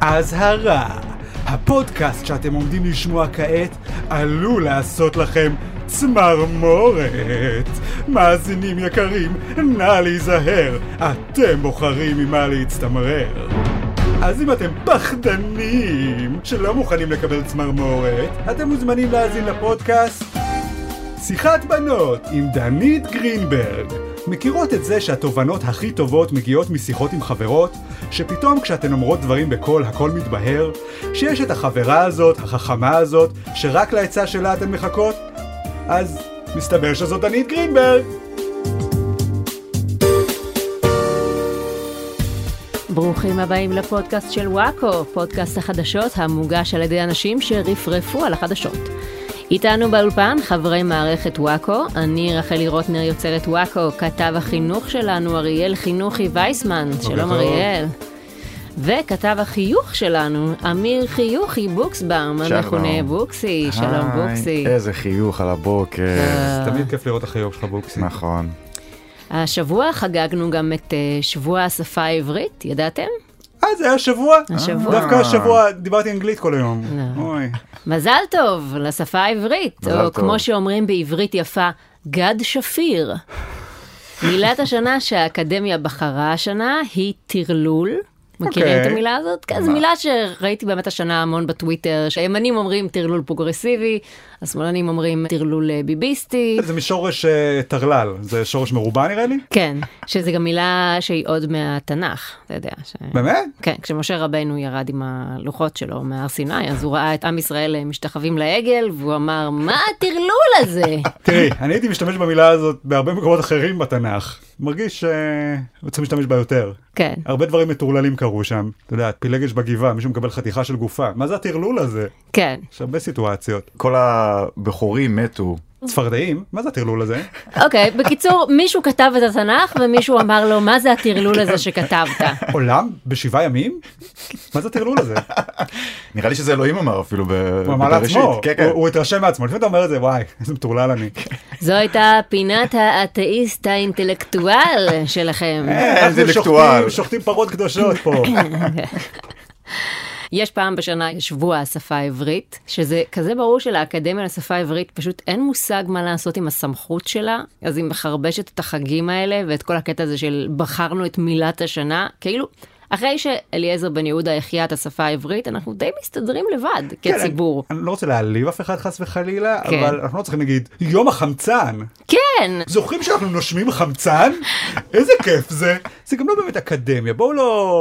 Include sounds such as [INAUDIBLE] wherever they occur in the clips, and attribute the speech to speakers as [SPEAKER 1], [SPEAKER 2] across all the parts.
[SPEAKER 1] אזהרה, הפודקאסט שאתם עומדים לשמוע כעת עלול לעשות לכם צמרמורת. מאזינים יקרים, נא להיזהר, אתם בוחרים ממה להצטמרר. אז אם אתם פחדנים שלא מוכנים לקבל צמרמורת, אתם מוזמנים להאזין לפודקאסט שיחת בנות עם דנית גרינברג. מכירות את זה שהתובנות הכי טובות מגיעות משיחות עם חברות? שפתאום כשאתן אומרות דברים בקול הכל מתבהר? שיש את החברה הזאת, החכמה הזאת, שרק לעצה שלה אתן מחכות? אז מסתבר שזאת דנית גרינברג!
[SPEAKER 2] ברוכים הבאים לפודקאסט של וואקו, פודקאסט החדשות המוגש על ידי אנשים שרפרפו על החדשות. איתנו באולפן חברי מערכת וואקו, אני רחלי רוטנר יוצרת וואקו, כתב החינוך שלנו אריאל חינוכי וייסמן, שלום
[SPEAKER 1] טוב.
[SPEAKER 2] אריאל. וכתב החיוך שלנו, אמיר חיוכי בוקסבאם,
[SPEAKER 3] שלום.
[SPEAKER 2] המכונה בוקסי, שלום
[SPEAKER 3] היי,
[SPEAKER 2] בוקסי.
[SPEAKER 3] איזה חיוך על הבוקר.
[SPEAKER 2] אה,
[SPEAKER 1] תמיד כיף לראות את החיוך שלך בוקסי.
[SPEAKER 3] נכון.
[SPEAKER 2] השבוע חגגנו גם את אה, שבוע השפה העברית, ידעתם?
[SPEAKER 1] אה, זה היה שבוע?
[SPEAKER 2] השבוע. אה.
[SPEAKER 1] דווקא השבוע דיברתי אנגלית כל היום.
[SPEAKER 2] לא.
[SPEAKER 1] אוי.
[SPEAKER 2] מזל טוב לשפה העברית,
[SPEAKER 3] מזל
[SPEAKER 2] או
[SPEAKER 3] טוב.
[SPEAKER 2] כמו שאומרים בעברית יפה, גד שפיר. מילת השנה שהאקדמיה בחרה השנה היא טרלול. מכירים את
[SPEAKER 1] אוקיי.
[SPEAKER 2] המילה הזאת? כן, זו מילה שראיתי באמת השנה המון בטוויטר, שהימנים אומרים טרלול פרוגרסיבי, השמאלנים אומרים טרלול אה, ביביסטי.
[SPEAKER 1] זה משורש אה, טרלל, זה שורש מרובע נראה לי?
[SPEAKER 2] כן, שזו גם מילה שהיא עוד מהתנ"ך, אתה יודע. ש...
[SPEAKER 1] באמת?
[SPEAKER 2] כן, כשמשה רבנו ירד עם הלוחות שלו מהר סיני, אז הוא ראה את עם ישראל משתחווים לעגל, והוא אמר, מה הטרלול הזה?
[SPEAKER 1] תראי, אני הייתי משתמש במילה הזאת בהרבה מקומות אחרים בתנ"ך. מרגיש שצריך להשתמש בה יותר.
[SPEAKER 2] כן.
[SPEAKER 1] הרבה דברים מטורללים קרו שם. אתה יודע, פילגש בגבעה, מישהו מקבל חתיכה של גופה. מה זה הטרלול הזה?
[SPEAKER 2] כן.
[SPEAKER 1] יש הרבה סיטואציות.
[SPEAKER 3] כל הבכורים מתו.
[SPEAKER 1] צפרדעים? מה זה הטרלול הזה?
[SPEAKER 2] אוקיי, בקיצור, מישהו כתב את התנ"ך ומישהו אמר לו, מה זה הטרלול הזה שכתבת?
[SPEAKER 1] עולם? בשבעה ימים? מה זה הטרלול הזה?
[SPEAKER 3] נראה לי שזה אלוהים אמר אפילו ב-
[SPEAKER 1] הוא אמר
[SPEAKER 3] בבראשית.
[SPEAKER 1] לעצמו,
[SPEAKER 3] כן, כן.
[SPEAKER 1] הוא- הוא התרשם מעצמו. לפעמים אתה אומר את זה, וואי, איזה מטורלל אני.
[SPEAKER 2] זו הייתה פינת האתאיסט האינטלקטואל שלכם.
[SPEAKER 1] אה, אנחנו
[SPEAKER 3] אינטלקטואל.
[SPEAKER 1] שוחטים- שוחטים פרות קדושות פה.
[SPEAKER 2] יש פעם בשנה שבוע השפה העברית, שזה כזה ברור שלאקדמיה לשפה העברית פשוט אין מושג מה לעשות עם הסמכות שלה, אז היא מחרבשת את החגים האלה ואת כל הקטע הזה של בחרנו את מילת השנה, כאילו... אחרי שאליעזר בן יהודה החיה את השפה העברית, אנחנו די מסתדרים לבד [LAUGHS] כציבור.
[SPEAKER 1] אני לא רוצה להעליב אף אחד חס וחלילה,
[SPEAKER 2] כן.
[SPEAKER 1] אבל אנחנו לא צריכים להגיד, יום החמצן.
[SPEAKER 2] כן,
[SPEAKER 1] זוכרים שאנחנו נושמים חמצן? איזה כיף זה. זה גם לא באמת אקדמיה, בואו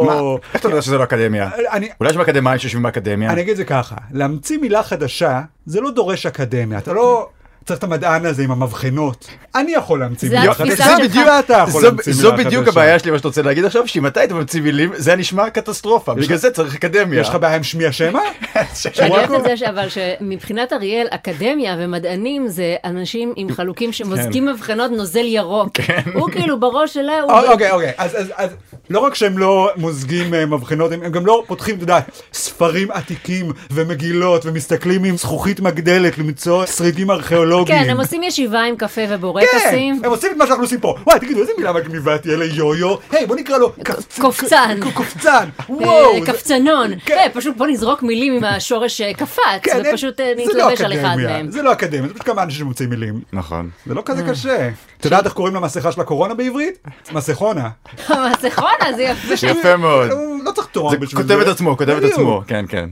[SPEAKER 3] מה?
[SPEAKER 1] לא...
[SPEAKER 3] איך אתה יודע שזה לא אקדמיה?
[SPEAKER 1] אני,
[SPEAKER 3] אולי יש אקדמאים שיושבים באקדמיה?
[SPEAKER 1] אני אגיד את זה ככה, להמציא מילה חדשה זה לא דורש אקדמיה, אתה לא... צריך את המדען הזה עם המבחנות. אני יכול להמציא
[SPEAKER 2] זה
[SPEAKER 1] מילה
[SPEAKER 2] התפיסה
[SPEAKER 1] חדשה.
[SPEAKER 2] שלך.
[SPEAKER 1] בדיוק אתה יכול
[SPEAKER 3] זו-
[SPEAKER 1] להמציא מילה
[SPEAKER 3] זו
[SPEAKER 1] חדשה.
[SPEAKER 3] בדיוק הבעיה שלי מה שאתה רוצה להגיד עכשיו שאם אתה היית ממציא מילים זה היה נשמע קטסטרופה
[SPEAKER 1] יש
[SPEAKER 3] בגלל
[SPEAKER 1] לך-
[SPEAKER 3] זה צריך אקדמיה.
[SPEAKER 1] יש לך בעיה עם שמי
[SPEAKER 3] [LAUGHS]
[SPEAKER 1] השמע?
[SPEAKER 2] אני אוהבת
[SPEAKER 1] כן. וואקו?
[SPEAKER 2] את זה ש- אבל שמבחינת אריאל, אקדמיה ומדענים זה אנשים
[SPEAKER 1] [LAUGHS]
[SPEAKER 2] עם
[SPEAKER 1] כן.
[SPEAKER 2] חלוקים שמוזגים מבחנות נוזל ירוק. הוא כאילו בראש שלה, הוא...
[SPEAKER 1] אוקיי, אוקיי, אוקיי, אז, אז, אז לא רק שהם לא מוזגים אה, מבחנות, הם, הם גם לא פותחים, אתה יודע, ספרים עתיקים ומגילות ומסתכלים עם זכוכית מגדלת למצוא שרידים ארכיאולוגיים.
[SPEAKER 2] כן, הם עושים ישיבה עם
[SPEAKER 1] כן,
[SPEAKER 2] קפה ובורקסים.
[SPEAKER 1] הם עושים את מה שאנחנו עושים פה. וואי, תגידו, איזה מילה מגניבה תהיה ליו-יו? היי, בוא נקרא לו קפצ-
[SPEAKER 2] קופצן.
[SPEAKER 1] ק- קופצן.
[SPEAKER 2] אה,
[SPEAKER 1] וואו. זה-
[SPEAKER 2] קפצנון,
[SPEAKER 1] כן.
[SPEAKER 2] אה, פשוט בוא נזרוק מילים עם השורש אה, קפץ,
[SPEAKER 1] כן, אין-
[SPEAKER 2] ופשוט אה,
[SPEAKER 1] זה לא
[SPEAKER 2] נתלבש על אחד
[SPEAKER 1] אקדמיה,
[SPEAKER 2] מהם. [LAUGHS] אה.
[SPEAKER 1] זה לא אקדמיה, זה פשוט כמה אנשים שמוצאים מילים.
[SPEAKER 3] נכון.
[SPEAKER 1] זה לא כזה קשה. את יודעת איך קוראים למסכה של הקורונה בעברית? מסכונה.
[SPEAKER 2] המסכונה זה נכון, יפה.
[SPEAKER 3] יפה [LAUGHS] מאוד.
[SPEAKER 1] הוא לא צריך תואר
[SPEAKER 3] זה
[SPEAKER 1] כן, בשביל זה.
[SPEAKER 3] כותב את עצמו כותב את
[SPEAKER 1] בדיוק.
[SPEAKER 3] עצמו כן כן.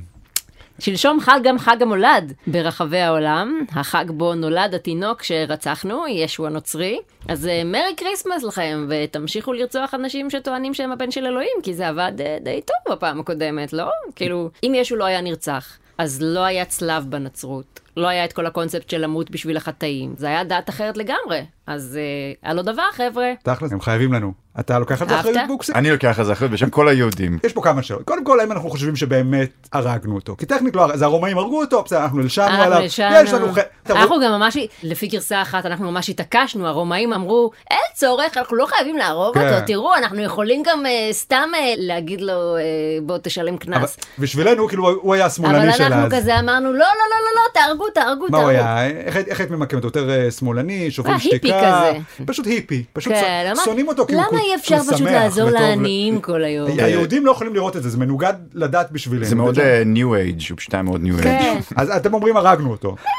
[SPEAKER 2] שלשום חג גם חג המולד ברחבי העולם, החג בו נולד התינוק שרצחנו, ישו הנוצרי. אז אה, מרי כריסמס לכם, ותמשיכו לרצוח אנשים שטוענים שהם הבן של אלוהים, כי זה עבד אה, די טוב בפעם הקודמת, לא? כאילו, אם ישו לא היה נרצח, אז לא היה צלב בנצרות. לא היה את כל הקונספט של למות בשביל החטאים, זה היה דת אחרת לגמרי. אז אה, על עוד דבר, חבר'ה.
[SPEAKER 1] תכל'ס, הם חייבים לנו. אתה לוקח על זה כן,
[SPEAKER 2] אהבת?
[SPEAKER 1] אחריות בוקסי?
[SPEAKER 3] אני לוקח על זה אחריות בשם כל היהודים.
[SPEAKER 1] יש פה כמה שאלות. קודם כל, האם אנחנו חושבים שבאמת הרגנו אותו? כי טכנית לא, הר- זה הרומאים הרגו אותו, בסדר, אנחנו הלשנו עליו.
[SPEAKER 2] אנחנו ישנו.
[SPEAKER 1] יש לנו ח...
[SPEAKER 2] אנחנו גם ממש, לפי גרסה אחת, אנחנו ממש התעקשנו, הרומאים אמרו, אין צורך, אנחנו לא חייבים להרוג
[SPEAKER 1] כן.
[SPEAKER 2] אותו, תראו, אנחנו יכולים גם אה, סתם אה, להגיד לו, אה, בוא תשלם
[SPEAKER 1] אבל
[SPEAKER 2] קנס.
[SPEAKER 1] בשבילנו, כאילו, הוא היה
[SPEAKER 2] אבל
[SPEAKER 1] השמאלני שלה.
[SPEAKER 2] אנחנו
[SPEAKER 1] אז.
[SPEAKER 2] כזה אמרנו, לא, לא, לא, לא, לא, תהרגו, תהרגו,
[SPEAKER 1] מה הוא
[SPEAKER 2] תהרגו.
[SPEAKER 1] היה? איך היית- איך היית ממקמת אותו? יותר אה, שמאלני, שוברים
[SPEAKER 2] אה, היפי
[SPEAKER 1] שתיקה?
[SPEAKER 2] כזה.
[SPEAKER 1] פשוט היפי. פשוט
[SPEAKER 2] כן,
[SPEAKER 1] ש-
[SPEAKER 2] למה-
[SPEAKER 1] שונאים אותו כי הוא
[SPEAKER 2] למה אי אפשר
[SPEAKER 1] הוא
[SPEAKER 2] פשוט
[SPEAKER 1] שמח
[SPEAKER 2] לעזור
[SPEAKER 3] וטוב ל-
[SPEAKER 2] לעניים כל היום?
[SPEAKER 3] אה,
[SPEAKER 1] היהודים לא יכולים לראות את זה, זה מנוגד לדת בשבילנו.
[SPEAKER 3] זה מאוד אה, New Age, הוא פשוט היה מאוד New
[SPEAKER 2] כן.
[SPEAKER 3] Age.
[SPEAKER 1] אז אתם אומרים הרגנו אותו.
[SPEAKER 2] אה,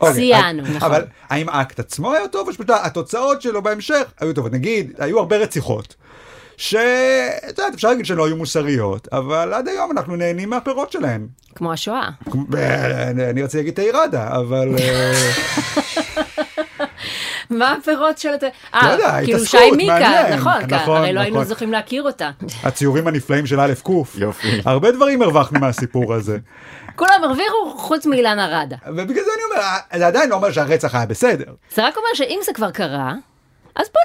[SPEAKER 1] אוקיי,
[SPEAKER 2] סייענו,
[SPEAKER 1] אז-
[SPEAKER 2] נכון.
[SPEAKER 1] אבל האם האקט עצמו היה טוב, או שפשוט התוצאות שלו בהמשך היו טובות? נגיד, היו הרבה רציחות. ש... את יודעת, אפשר להגיד שלא היו מוסריות, אבל עד היום אנחנו נהנים מהפירות שלהן.
[SPEAKER 2] כמו השואה.
[SPEAKER 1] כמו- אה, אני רציתי להגיד תאיראדה, אבל... אה,
[SPEAKER 2] מה הפירות של... הת-
[SPEAKER 1] לא יודע,
[SPEAKER 2] אה, כאילו שי
[SPEAKER 1] התעסקות,
[SPEAKER 2] מיקה,
[SPEAKER 1] מעניין.
[SPEAKER 2] נכון, כ-
[SPEAKER 1] נכון,
[SPEAKER 2] הרי לא היינו
[SPEAKER 1] נכון.
[SPEAKER 2] זוכים להכיר אותה.
[SPEAKER 1] הציורים הנפלאים של א' ק'.
[SPEAKER 3] יופי.
[SPEAKER 1] הרבה דברים הרווחנו מהסיפור הזה.
[SPEAKER 2] כולם הרוויחו חוץ מאילנה ראדה.
[SPEAKER 1] ובגלל זה אני אומר, אה, זה עדיין לא אומר שהרצח היה בסדר.
[SPEAKER 2] זה רק אומר שאם זה כבר קרה, אז בוא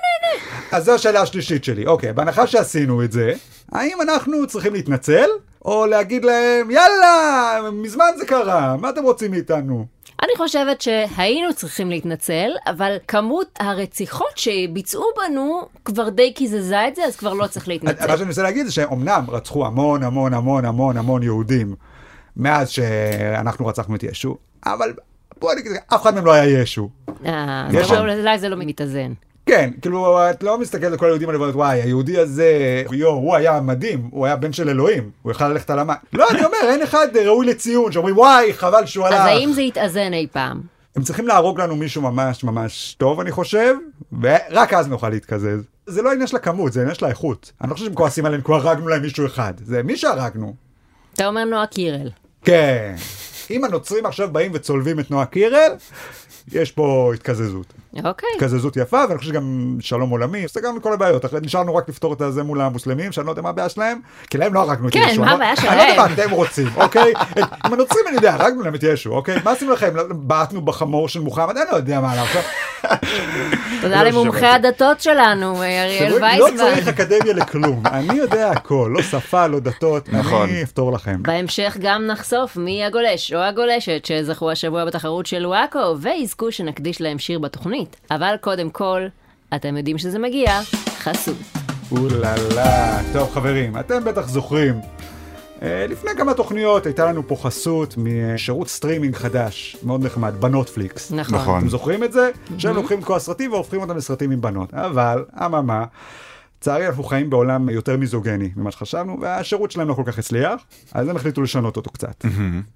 [SPEAKER 2] נהנה.
[SPEAKER 1] אז זו השאלה השלישית שלי. אוקיי, בהנחה שעשינו את זה, האם אנחנו צריכים להתנצל, או להגיד להם, יאללה, מזמן זה קרה, מה אתם רוצים מאיתנו?
[SPEAKER 2] אני חושבת שהיינו צריכים להתנצל, אבל כמות הרציחות שביצעו בנו כבר די קיזזה את זה, אז כבר לא צריך להתנצל.
[SPEAKER 1] מה שאני מנסה להגיד זה שאומנם רצחו המון המון המון המון המון יהודים מאז שאנחנו רצחנו את ישו, אבל בוא נגיד, אף אחד מהם לא היה ישו.
[SPEAKER 2] אה,
[SPEAKER 1] יש
[SPEAKER 2] אז
[SPEAKER 1] שם-
[SPEAKER 2] אולי זה לא מתאזן.
[SPEAKER 1] כן, כאילו, את לא מסתכלת על כל היהודים האלה ואומרת, וואי, היהודי הזה, יו, הוא היה מדהים, הוא היה בן של אלוהים, הוא יכל ללכת על המים. לא, אני אומר, אין אחד ראוי לציון, שאומרים, וואי, חבל שהוא הלך.
[SPEAKER 2] אז האם זה יתאזן אי פעם?
[SPEAKER 1] הם צריכים להרוג לנו מישהו ממש ממש טוב, אני חושב, ורק אז נוכל להתקזז. זה לא עניין של הכמות, זה עניין של האיכות. אני לא חושב שהם כועסים עלינו, כי הרגנו להם מישהו אחד. זה מי שהרגנו.
[SPEAKER 2] אתה אומר נועה קירל.
[SPEAKER 1] כן. אם הנוצרים עכשיו באים וצולבים את נועה קירל, יש פה התקזזות.
[SPEAKER 2] אוקיי.
[SPEAKER 1] התקזזות יפה, ואני חושב שגם שלום עולמי, זה גם כל הבעיות. אחרי נשארנו רק לפתור את זה מול המוסלמים, שאני לא יודע מה הבעיה שלהם, כי להם לא הרגנו את
[SPEAKER 2] כן,
[SPEAKER 1] ישו.
[SPEAKER 2] מה
[SPEAKER 1] אני לא-
[SPEAKER 2] הבעיה
[SPEAKER 1] אני לא יודע
[SPEAKER 2] שלהם?
[SPEAKER 1] מה אתם רוצים, אוקיי? את- עם הנוצרים אני יודע, הרגנו להם את ישו, אוקיי? מה עשינו לכם? לא- בעטנו בחמור של מוחמד? אני לא יודע מה לעשות.
[SPEAKER 2] תודה
[SPEAKER 3] לא
[SPEAKER 2] למומחה
[SPEAKER 3] שמעתי.
[SPEAKER 2] הדתות שלנו, אה, אריאל
[SPEAKER 1] לא צריך
[SPEAKER 2] וייסמן.
[SPEAKER 1] אקדמיה לכלום, אני יודע הכל, לא שפה, לא דתות,
[SPEAKER 3] נכון.
[SPEAKER 1] אני אפתור לכם.
[SPEAKER 2] בהמשך גם נחשוף מי הגולש או הגולשת שזכו השבוע בתחרות של וואקו, ויזכו שנקדיש להם שיר בתוכנית. אבל קודם כל, אתם יודעים שזה מגיע, חסות.
[SPEAKER 1] אוללה. טוב חברים, אתם בטח זוכרים. אה, לפני כמה תוכניות הייתה לנו פה חסות משירות סטרימינג חדש, מאוד נחמד, בנוטפליקס.
[SPEAKER 2] נכון.
[SPEAKER 3] נכון.
[SPEAKER 1] אתם זוכרים את זה? שהם לוקחים את כל הסרטים והופכים אותם לסרטים עם בנות. אבל, אממה, לצערי אנחנו חיים בעולם יותר מיזוגני ממה שחשבנו, והשירות שלהם לא כל כך הצליח, אז הם החליטו לשנות אותו קצת.
[SPEAKER 3] Mhm.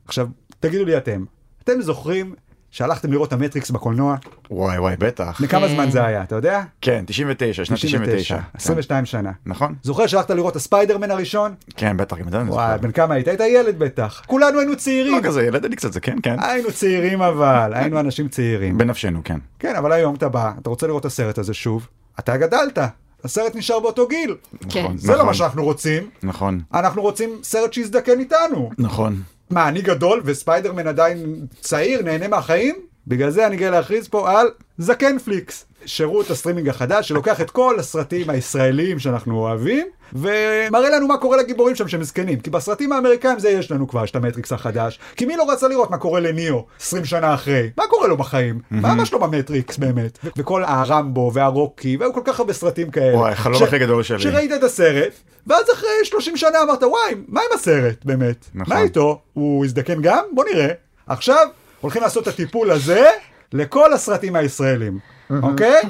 [SPEAKER 1] עכשיו, תגידו לי אתם, אתם זוכרים שהלכתם לראות את המטריקס בקולנוע?
[SPEAKER 3] וואי וואי, בטח.
[SPEAKER 1] לכמה
[SPEAKER 2] כן.
[SPEAKER 1] זמן זה היה, אתה יודע?
[SPEAKER 3] כן, 99, שנת 99. כן.
[SPEAKER 1] 22 שנה.
[SPEAKER 3] נכון?
[SPEAKER 1] זוכר שהלכת לראות את הספיידרמן הראשון?
[SPEAKER 3] כן, בטח, גם אתה אני
[SPEAKER 1] וואי,
[SPEAKER 3] זוכר.
[SPEAKER 1] בן כמה היית? היית ילד בטח. כולנו היינו
[SPEAKER 3] לא
[SPEAKER 1] צעירים.
[SPEAKER 3] כזה, ילד לי קצת זה, כן, כן.
[SPEAKER 1] היינו צעירים אבל, היינו אנשים צעירים.
[SPEAKER 3] בנפשנו, כן.
[SPEAKER 1] כן, אבל היום אתה בא, אתה רוצה לראות את הסרט הזה שוב, אתה גדלת, הסרט נשאר באותו גיל.
[SPEAKER 2] כן.
[SPEAKER 3] נכון,
[SPEAKER 1] זה לא
[SPEAKER 3] נכון,
[SPEAKER 1] מה שאנחנו רוצים,
[SPEAKER 3] נכון,
[SPEAKER 1] אנחנו רוצים סרט שיזדקן איתנו.
[SPEAKER 3] נכון.
[SPEAKER 1] מה, אני גדול וספיידרמן עדיין צעיר, נהנה מהחיים? בגלל זה אני גאה להכריז פה על זקן פליקס, שירות הסטרימינג החדש שלוקח את כל הסרטים הישראליים שאנחנו אוהבים, ומראה לנו מה קורה לגיבורים שם שהם זקנים. כי בסרטים האמריקאים זה יש לנו כבר, יש את המטריקס החדש. כי מי לא רצה לראות מה קורה לניאו 20 שנה אחרי? מה קורה לו בחיים? מה ממש לא במטריקס באמת? ו- וכל הרמבו והרוקי, והיו כל כך הרבה סרטים כאלה.
[SPEAKER 3] וואי, החלום
[SPEAKER 1] ש-
[SPEAKER 3] הכי גדול שלי.
[SPEAKER 1] שראית את הסרט, ואז אחרי 30 שנה אמרת, וואי, מה עם הסרט באמת?
[SPEAKER 3] נכון.
[SPEAKER 1] מה איתו? איתו, הוא הזדקן גם? בוא נראה. עכשיו הולכים לעשות את הטיפול הזה לכל הסרטים הישראלים, אוקיי?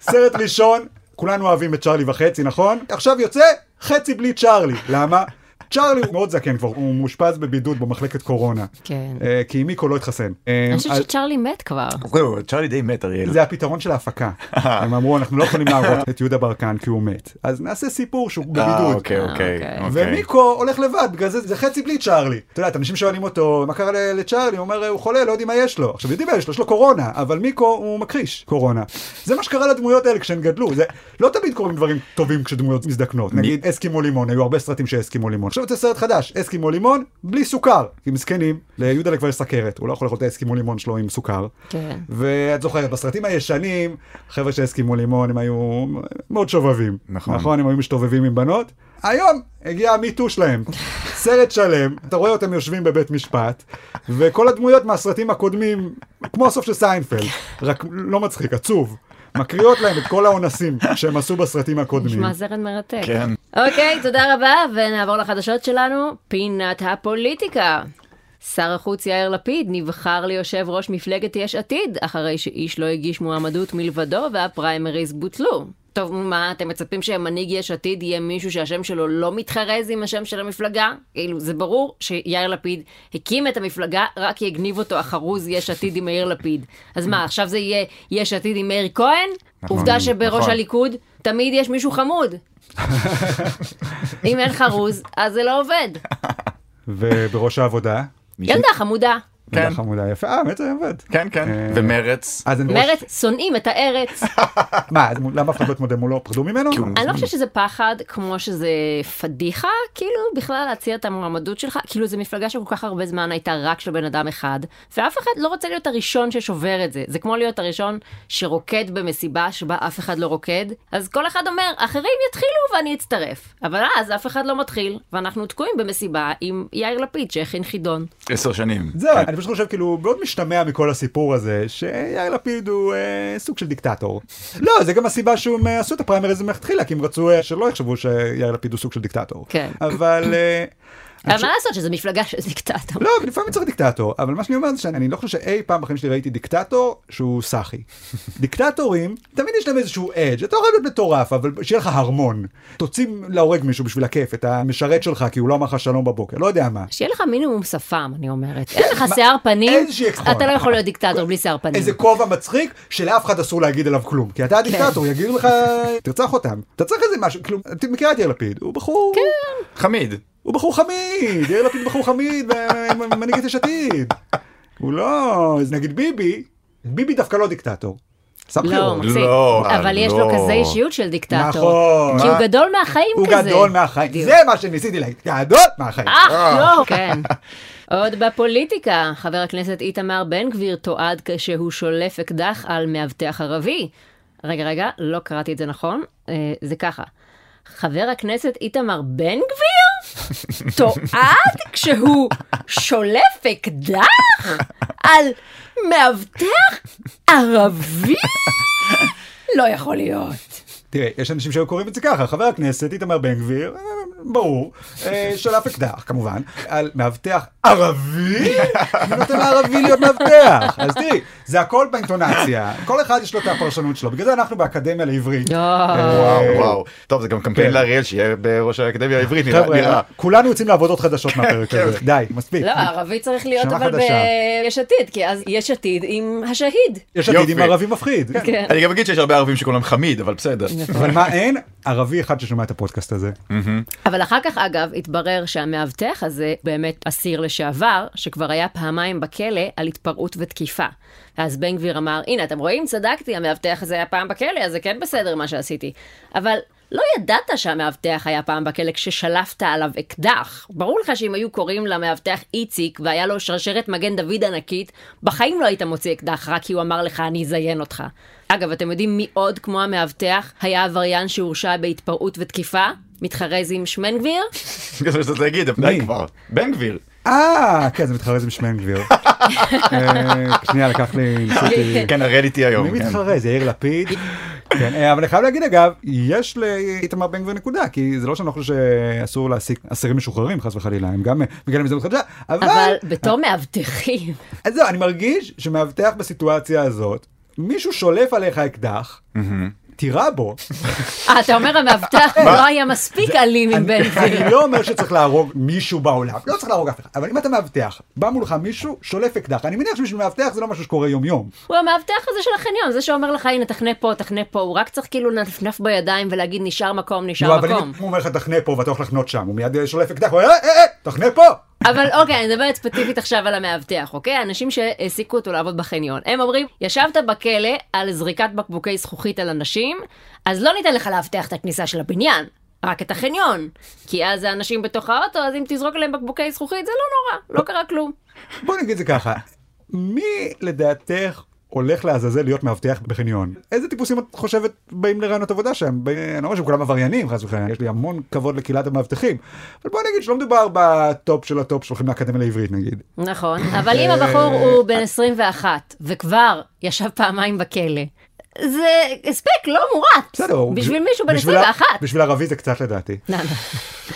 [SPEAKER 1] סרט ראשון, כולנו אוהבים את צ'ארלי וחצי, נכון? עכשיו יוצא חצי בלי צ'ארלי, למה? צ'ארלי הוא מאוד זקן כבר, הוא מאושפז בבידוד במחלקת קורונה.
[SPEAKER 2] כן.
[SPEAKER 1] אה, כי מיקו לא התחסן. אה,
[SPEAKER 2] אני חושבת
[SPEAKER 1] אז-
[SPEAKER 2] שצ'רלי מת כבר.
[SPEAKER 3] זהו, אוקיי, צ'ארלי די מת, אריאל.
[SPEAKER 1] זה הפתרון של
[SPEAKER 3] [LAUGHS]
[SPEAKER 1] ההפקה. הם אמרו, אנחנו לא יכולים להראות את יהודה ברקן כי הוא מת. אז נעשה סיפור שהוא
[SPEAKER 3] אה,
[SPEAKER 1] בבידוד.
[SPEAKER 3] אוקיי, אוקיי.
[SPEAKER 2] אוקיי.
[SPEAKER 3] אוקיי.
[SPEAKER 1] ומיקו הולך לבד, בגלל זה זה חצי בלי צ'ארלי. אתה יודע, את אנשים שואלים אותו, מה קרה ל- לצ'ארלי? הוא אומר, הוא חולה, לא יודעים מה יש לו. עכשיו, יודעים מה יש לו, יש לו קורונה, אבל מיקו הוא מכחיש קורונה. זה מה שקרה לדמויות האלה כשהן גדלו. זה לא תמיד קורים דברים טובים כשדמויות מזדקנות. נגיד, אסקימו לימון, היו הרבה סרטים שאסקימו לימון. עכשיו יוצא סרט חדש, אסקימו לימון, בלי סוכר. כי מסכנים, ליהודלה כבר יש סכרת, הוא לא יכול לאכול את האסקימו לימון שלו עם סוכר.
[SPEAKER 2] כן.
[SPEAKER 1] ואת זוכרת, בסרטים הישנים, חבר'ה שהסכימו לימון, הם היו מאוד שובבים.
[SPEAKER 3] נכון.
[SPEAKER 1] נכון, הם היו משתובבים עם בנות. היום הגיע המיטו שלהם. סרט שלם, אתה רואה אותם יושבים בבית משפט, וכל הדמויות מהסרטים הקודמים, כמו הסוף של סיינפלד, רק לא מצחיק, עצוב. מקריאות להם את כל האונסים שהם עשו בסרטים הקודמים.
[SPEAKER 2] נשמע זרד מרתק.
[SPEAKER 3] כן.
[SPEAKER 2] אוקיי, תודה רבה, ונעבור לחדשות שלנו, פינת הפוליטיקה. שר החוץ יאיר לפיד נבחר ליושב ראש מפלגת יש עתיד, אחרי שאיש לא הגיש מועמדות מלבדו והפריימריז בוטלו. טוב, מה, אתם מצפים שמנהיג יש עתיד יהיה מישהו שהשם שלו לא מתחרז עם השם של המפלגה? כאילו, זה ברור שיאיר לפיד הקים את המפלגה, רק יגניב אותו החרוז יש עתיד עם יאיר לפיד. אז מה, עכשיו זה יהיה יש עתיד עם מאיר כהן?
[SPEAKER 3] נכון,
[SPEAKER 2] עובדה שבראש
[SPEAKER 3] נכון.
[SPEAKER 2] הליכוד תמיד יש מישהו
[SPEAKER 3] [LAUGHS]
[SPEAKER 2] חמוד. אם אין חרוז, אז זה לא עובד.
[SPEAKER 1] ובראש העבודה,
[SPEAKER 3] מישהו-
[SPEAKER 2] ילדה חמודה.
[SPEAKER 1] כן.
[SPEAKER 3] כן.
[SPEAKER 1] חמודה יפה, אה, באמת זה עובד.
[SPEAKER 3] כן,
[SPEAKER 1] אה,
[SPEAKER 3] כן. ומרץ.
[SPEAKER 1] אז אני בראש-
[SPEAKER 2] מרצ, שונאים את הארץ.
[SPEAKER 1] מה, אז למה אף אחד לא התמודד מולו? פחדו ממנו?
[SPEAKER 3] כי הוא-
[SPEAKER 2] אני לא חושבת שזה פחד כמו שזה פדיחה, כאילו בכלל להציע את המועמדות שלך, כאילו זו מפלגה שכל כך הרבה זמן הייתה רק של בן אדם אחד, ואף אחד לא רוצה להיות הראשון ששובר את זה. זה כמו להיות הראשון שרוקד במסיבה שבה אף אחד לא רוקד, אז כל אחד אומר, אחרים יתחילו ואני אצטרף. אבל אז אף אחד לא מתחיל, ואנחנו תקועים במסיבה עם יאיר לפיד שהכין חידון.
[SPEAKER 3] עשר שנים. כן.
[SPEAKER 1] זהו, אני פשוט חושב כאילו, מאוד משתמע מכל הסיפור הזה, שיאיר לפיד הוא אה, סוג של דיקטטור. לא, זה גם הסיבה שהם אה, עשו את הפריימריז מלכתחילה, כי הם רצו אה, שלא יחשבו שיאיר לפיד הוא סוג של דיקטטור.
[SPEAKER 2] כן.
[SPEAKER 1] אבל... אה,
[SPEAKER 2] אבל מה לעשות שזו מפלגה של דיקטטור.
[SPEAKER 1] לא, אבל לפעמים צריך דיקטטור, אבל מה שאני אומר זה שאני לא חושב שאי פעם בחיים שלי ראיתי דיקטטור שהוא סאחי. דיקטטורים, תמיד יש להם איזשהו אדג', אתה יכול להיות מטורף, אבל שיהיה לך הרמון. תוציא להורג מישהו בשביל הכיף, את המשרת שלך, כי הוא לא אמר לך שלום בבוקר, לא יודע מה.
[SPEAKER 2] שיהיה לך מינימום שפם, אני אומרת. אין לך שיער פנים,
[SPEAKER 1] איזושהי אקספון.
[SPEAKER 2] אתה לא יכול להיות דיקטטור בלי שיער פנים.
[SPEAKER 1] איזה כובע מצחיק שלאף אחד אסור להגיד עליו כלום, כי אתה
[SPEAKER 2] כן.
[SPEAKER 1] הדיקטטור, יגידו לך, תרצח אותם. אתה צריך איזה משהו, כאילו, את מכירה את יאיר לפיד, הוא בחור,
[SPEAKER 2] כן.
[SPEAKER 3] חמיד.
[SPEAKER 1] הוא בחור חמיד, יאיר לפיד בחור חמיד, מ- מנהיגת יש עתיד. הוא לא, אז נגיד ביבי, ביבי דווקא לא דיקטטור. עשה
[SPEAKER 2] לא,
[SPEAKER 1] בחירות.
[SPEAKER 2] מקסים.
[SPEAKER 3] לא,
[SPEAKER 2] אבל יש לו
[SPEAKER 3] לא.
[SPEAKER 2] כזה אישיות של דיקטטור.
[SPEAKER 1] נכון.
[SPEAKER 2] כי הוא
[SPEAKER 1] מה?
[SPEAKER 2] גדול מהחיים
[SPEAKER 1] הוא
[SPEAKER 2] כזה.
[SPEAKER 1] גדול מהחיים,
[SPEAKER 2] בדיוק.
[SPEAKER 1] זה מה שניסיתי להגיד, גדול מהחיים.
[SPEAKER 2] אך, לא, כן. עוד בפוליטיקה, חבר הכנסת איתמר בן גביר תועד כשהוא שולף אקדח על מאבטח ערבי. רגע, רגע, לא קראתי את זה נכון. אה, זה ככה. חבר הכנסת איתמר בן גביר תועד כשהוא שולף אקדח על מאבטח ערבי? לא יכול להיות.
[SPEAKER 1] תראה, יש אנשים שהיו קוראים את זה ככה, חבר הכנסת איתמר בן גביר, אה, ברור, אה, שלף אקדח כמובן, על מאבטח ערבי, מי נותן לערבי להיות מאבטח. אז תראי, זה הכל באינטונציה, כל אחד יש לו את הפרשנות שלו, בגלל זה אנחנו באקדמיה לעברית.
[SPEAKER 2] לא.
[SPEAKER 3] וואו וואו. טוב זה גם קמפיין
[SPEAKER 1] אה. כן.
[SPEAKER 3] לאריאל שיהיה בראש האקדמיה העברית נראה-
[SPEAKER 1] חבר'ה,
[SPEAKER 3] נראה.
[SPEAKER 2] אה.
[SPEAKER 3] כן,
[SPEAKER 1] כולנו יוצאים לעבודות חדשות מהפרק הזה, די, מספיק.
[SPEAKER 2] לא, ערבי צריך להיות
[SPEAKER 1] שנה
[SPEAKER 2] אבל
[SPEAKER 1] חדשה.
[SPEAKER 2] ביש עתיד, כי אז יש עתיד עם השהיד.
[SPEAKER 1] יש עתיד
[SPEAKER 3] יופי.
[SPEAKER 1] עם ערבי מפחיד.
[SPEAKER 2] כן.
[SPEAKER 3] אני גם אגיד שיש הרבה ערבים שקוראים להם חמיד אבל בסדר.
[SPEAKER 1] אבל מה אין? ערבי אחד ששומע את הפודקאסט הזה.
[SPEAKER 3] Mm.
[SPEAKER 2] אבל אחר כך, אגב, התברר שהמאבטח הזה באמת אסיר לשעבר, שכבר היה פעמיים בכלא על התפרעות ותקיפה. ואז בן גביר אמר, הנה, אתם רואים? צדקתי, המאבטח הזה היה פעם בכלא, אז זה כן בסדר מה שעשיתי. אבל לא ידעת שהמאבטח היה פעם בכלא כששלפת עליו אקדח. ברור לך שאם היו קוראים למאבטח איציק והיה לו שרשרת מגן דוד ענקית, בחיים לא היית מוציא אקדח, רק כי הוא אמר לך, אני אזיין אותך. אגב, אתם יודעים מי עוד כמו המאבטח היה עבריין שהורשע בהתפרעות ותקיפה? מתחרז עם
[SPEAKER 1] [LAUGHS]
[SPEAKER 2] שמן גביר?
[SPEAKER 3] [LAUGHS] זה מה שרציתי להגיד, אבל די
[SPEAKER 1] מי?
[SPEAKER 3] כבר. בן גביר.
[SPEAKER 1] אה, כן, זה מתחרז עם שמן
[SPEAKER 2] [LAUGHS]
[SPEAKER 1] גביר. אה, שנייה, לקח לי, ניסיתי.
[SPEAKER 3] כן הראל איתי היום.
[SPEAKER 1] מי
[SPEAKER 3] כן.
[SPEAKER 1] מתחרה? זה יאיר לפיד? כן, אה, אבל אני חייב להגיד אגב, יש לאיתמר בן גביר נקודה, כי זה לא שאני לא חושב שאסור להעסיק אסירים משוחררים חס וחלילה, הם גם אה, מגיעים למזדמנות חדשה, אבל
[SPEAKER 2] אבל בתור מאבטחים,
[SPEAKER 1] אז זהו, אני מרגיש שמאבטח בסיטואציה הזאת, מישהו שולף עליך אקדח, תירה בו,
[SPEAKER 2] אה, אתה אומר המאבטח לא היה מספיק אלים עם בן
[SPEAKER 1] אני
[SPEAKER 2] גביר.
[SPEAKER 1] אני לא אומר שצריך להרוג מישהו בעולם, לא צריך להרוג אף אחד, אבל אם אתה מאבטח, בא מולך מישהו, שולף אקדח, אני מניח שבשביל מאבטח זה לא משהו שקורה יום-יום.
[SPEAKER 2] הוא המאבטח הזה של החניון, זה שאומר לך, הנה, תחנה פה, תחנה פה, הוא רק צריך כאילו לנפנף בידיים ולהגיד, נשאר מקום,
[SPEAKER 1] לא,
[SPEAKER 2] נשאר
[SPEAKER 1] אבל
[SPEAKER 2] מקום.
[SPEAKER 1] אם הוא אומר לך תחנה פה ואתה הולך לחנות שם, הוא מיד אה, שולף אקדח, הוא אומר, "אה, אה, אה, תחנה פה!
[SPEAKER 2] אבל אוקיי, אני מדברת ספציפית עכשיו על המאבטח, אוקיי? האנשים שהעסיקו אותו לעבוד בחניון. הם אומרים, ישבת בכלא על זריקת בקבוקי זכוכית על אנשים, אז לא ניתן לך לאבטח את הכניסה של הבניין, רק את החניון. כי אז האנשים בתוך האוטו, אז אם תזרוק עליהם בקבוקי זכוכית, זה לא נורא, לא קרה כלום.
[SPEAKER 1] בוא נגיד זה ככה, מי לדעתך הולך לעזאזל להיות מאבטח בחניון? איזה טיפוסים את חושבת באים לרעיונות עבודה שם? ב- אני לא אומר שהם כולם עבריינים, חס וחלילה, יש לי המון כבוד לקהילת המאבטחים. אבל בוא נגיד שלא מדובר בטופ של הטופ שהולכים לאקדמיה לעברית נגיד. [COUGHS]
[SPEAKER 2] נכון, אבל
[SPEAKER 1] אה,
[SPEAKER 2] אם הבחור הוא בן 21, וכבר ישב פעמיים בכלא, זה הספק לא מועט.
[SPEAKER 1] בסדר, הוא-
[SPEAKER 2] בשביל מישהו בן
[SPEAKER 1] בשביל ה-
[SPEAKER 2] 21.
[SPEAKER 1] בשביל ערבי זה קצת לדעתי.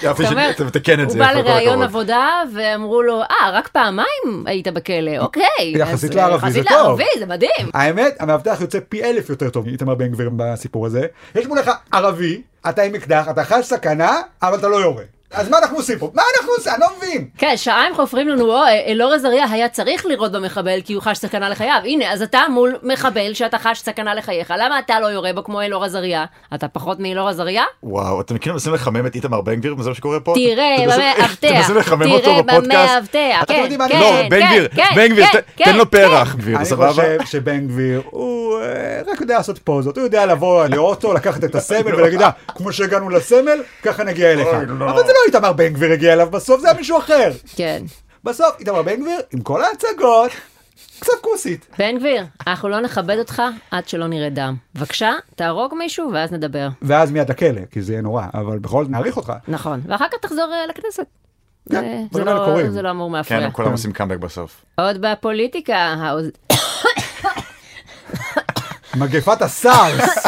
[SPEAKER 3] יופי
[SPEAKER 2] [LAUGHS] אתה אומר,
[SPEAKER 3] שתתקן את
[SPEAKER 2] הוא
[SPEAKER 3] זה.
[SPEAKER 2] בא
[SPEAKER 3] כל
[SPEAKER 2] לראיון
[SPEAKER 3] הכבוד.
[SPEAKER 2] עבודה ואמרו לו, אה, רק פעמיים היית בכלא, אוקיי.
[SPEAKER 1] יחסית
[SPEAKER 2] אז,
[SPEAKER 1] לערבי זה
[SPEAKER 2] יחסית
[SPEAKER 1] טוב.
[SPEAKER 2] לערבי, זה מדהים.
[SPEAKER 1] האמת, המאבטח יוצא פי אלף יותר טוב מאיתמר בן גביר בסיפור הזה. יש מולך ערבי, אתה עם אקדח, אתה חש סכנה, אבל אתה לא יורה. אז מה אנחנו עושים פה? מה אנחנו עושים? אני לא מבין.
[SPEAKER 2] כן, שעה הם חופרים לנו, או, אלאור עזריה היה צריך לירות במחבל כי הוא חש סכנה לחייו. הנה, אז אתה מול מחבל שאתה חש סכנה לחייך. למה אתה לא יורה בו כמו אלאור עזריה? אתה פחות מאלאור עזריה?
[SPEAKER 3] וואו, אתם מכירים, מנסים לחמם את איתמר בן גביר, וזה מה שקורה פה?
[SPEAKER 2] תראה
[SPEAKER 3] אתם מנסים-
[SPEAKER 2] במאבטח,
[SPEAKER 3] אתם מנסים לחמם אותו
[SPEAKER 2] תראה
[SPEAKER 3] בפודקאסט?
[SPEAKER 2] במאבטח,
[SPEAKER 1] אתם
[SPEAKER 2] כן,
[SPEAKER 1] יודעים מה אני-
[SPEAKER 2] כן,
[SPEAKER 3] לא, בן
[SPEAKER 2] כן,
[SPEAKER 3] גביר,
[SPEAKER 2] כן,
[SPEAKER 3] בן גביר,
[SPEAKER 2] כן,
[SPEAKER 3] ת- תן
[SPEAKER 2] כן.
[SPEAKER 3] לו פרח, גביר,
[SPEAKER 1] אני
[SPEAKER 3] סבבה?
[SPEAKER 1] חושב שבן גביר, הוא אה, רק יודע לעשות פוזות, הוא יודע לבוא לאוטו, לקחת את
[SPEAKER 3] [LAUGHS]
[SPEAKER 1] הסמל ולהגיד, "אה, כמו שהגענו לסמל, ככה נגיע אליך.
[SPEAKER 3] לא. אוי, לא.
[SPEAKER 1] אבל זה לא איתמר בן גביר הגיע אליו בסוף, זה היה מישהו אחר.
[SPEAKER 2] כן.
[SPEAKER 1] בסוף איתמר בן גביר, עם כל ההצגות, קצת כוסית.
[SPEAKER 2] בן גביר, אנחנו לא נכבד אותך עד שלא נראה דם. בבקשה, תהרוג מישהו ואז נדבר.
[SPEAKER 1] ואז מיד הכלא, כי זה יהיה נורא, אבל בכל זאת נעריך אותך.
[SPEAKER 2] נכון, ואחר כך תחזור אה, לכנסת.
[SPEAKER 1] כן,
[SPEAKER 2] זה-
[SPEAKER 1] דברים
[SPEAKER 2] זה
[SPEAKER 1] האלה
[SPEAKER 2] לא-
[SPEAKER 1] קורים.
[SPEAKER 2] זה לא אמור
[SPEAKER 3] כן,
[SPEAKER 2] להפריע.
[SPEAKER 3] הם כולם עושים קאמבק בסוף.
[SPEAKER 2] עוד בפוליטיקה, האוז-
[SPEAKER 1] מגפת
[SPEAKER 2] [LAUGHS]
[SPEAKER 1] הסארס.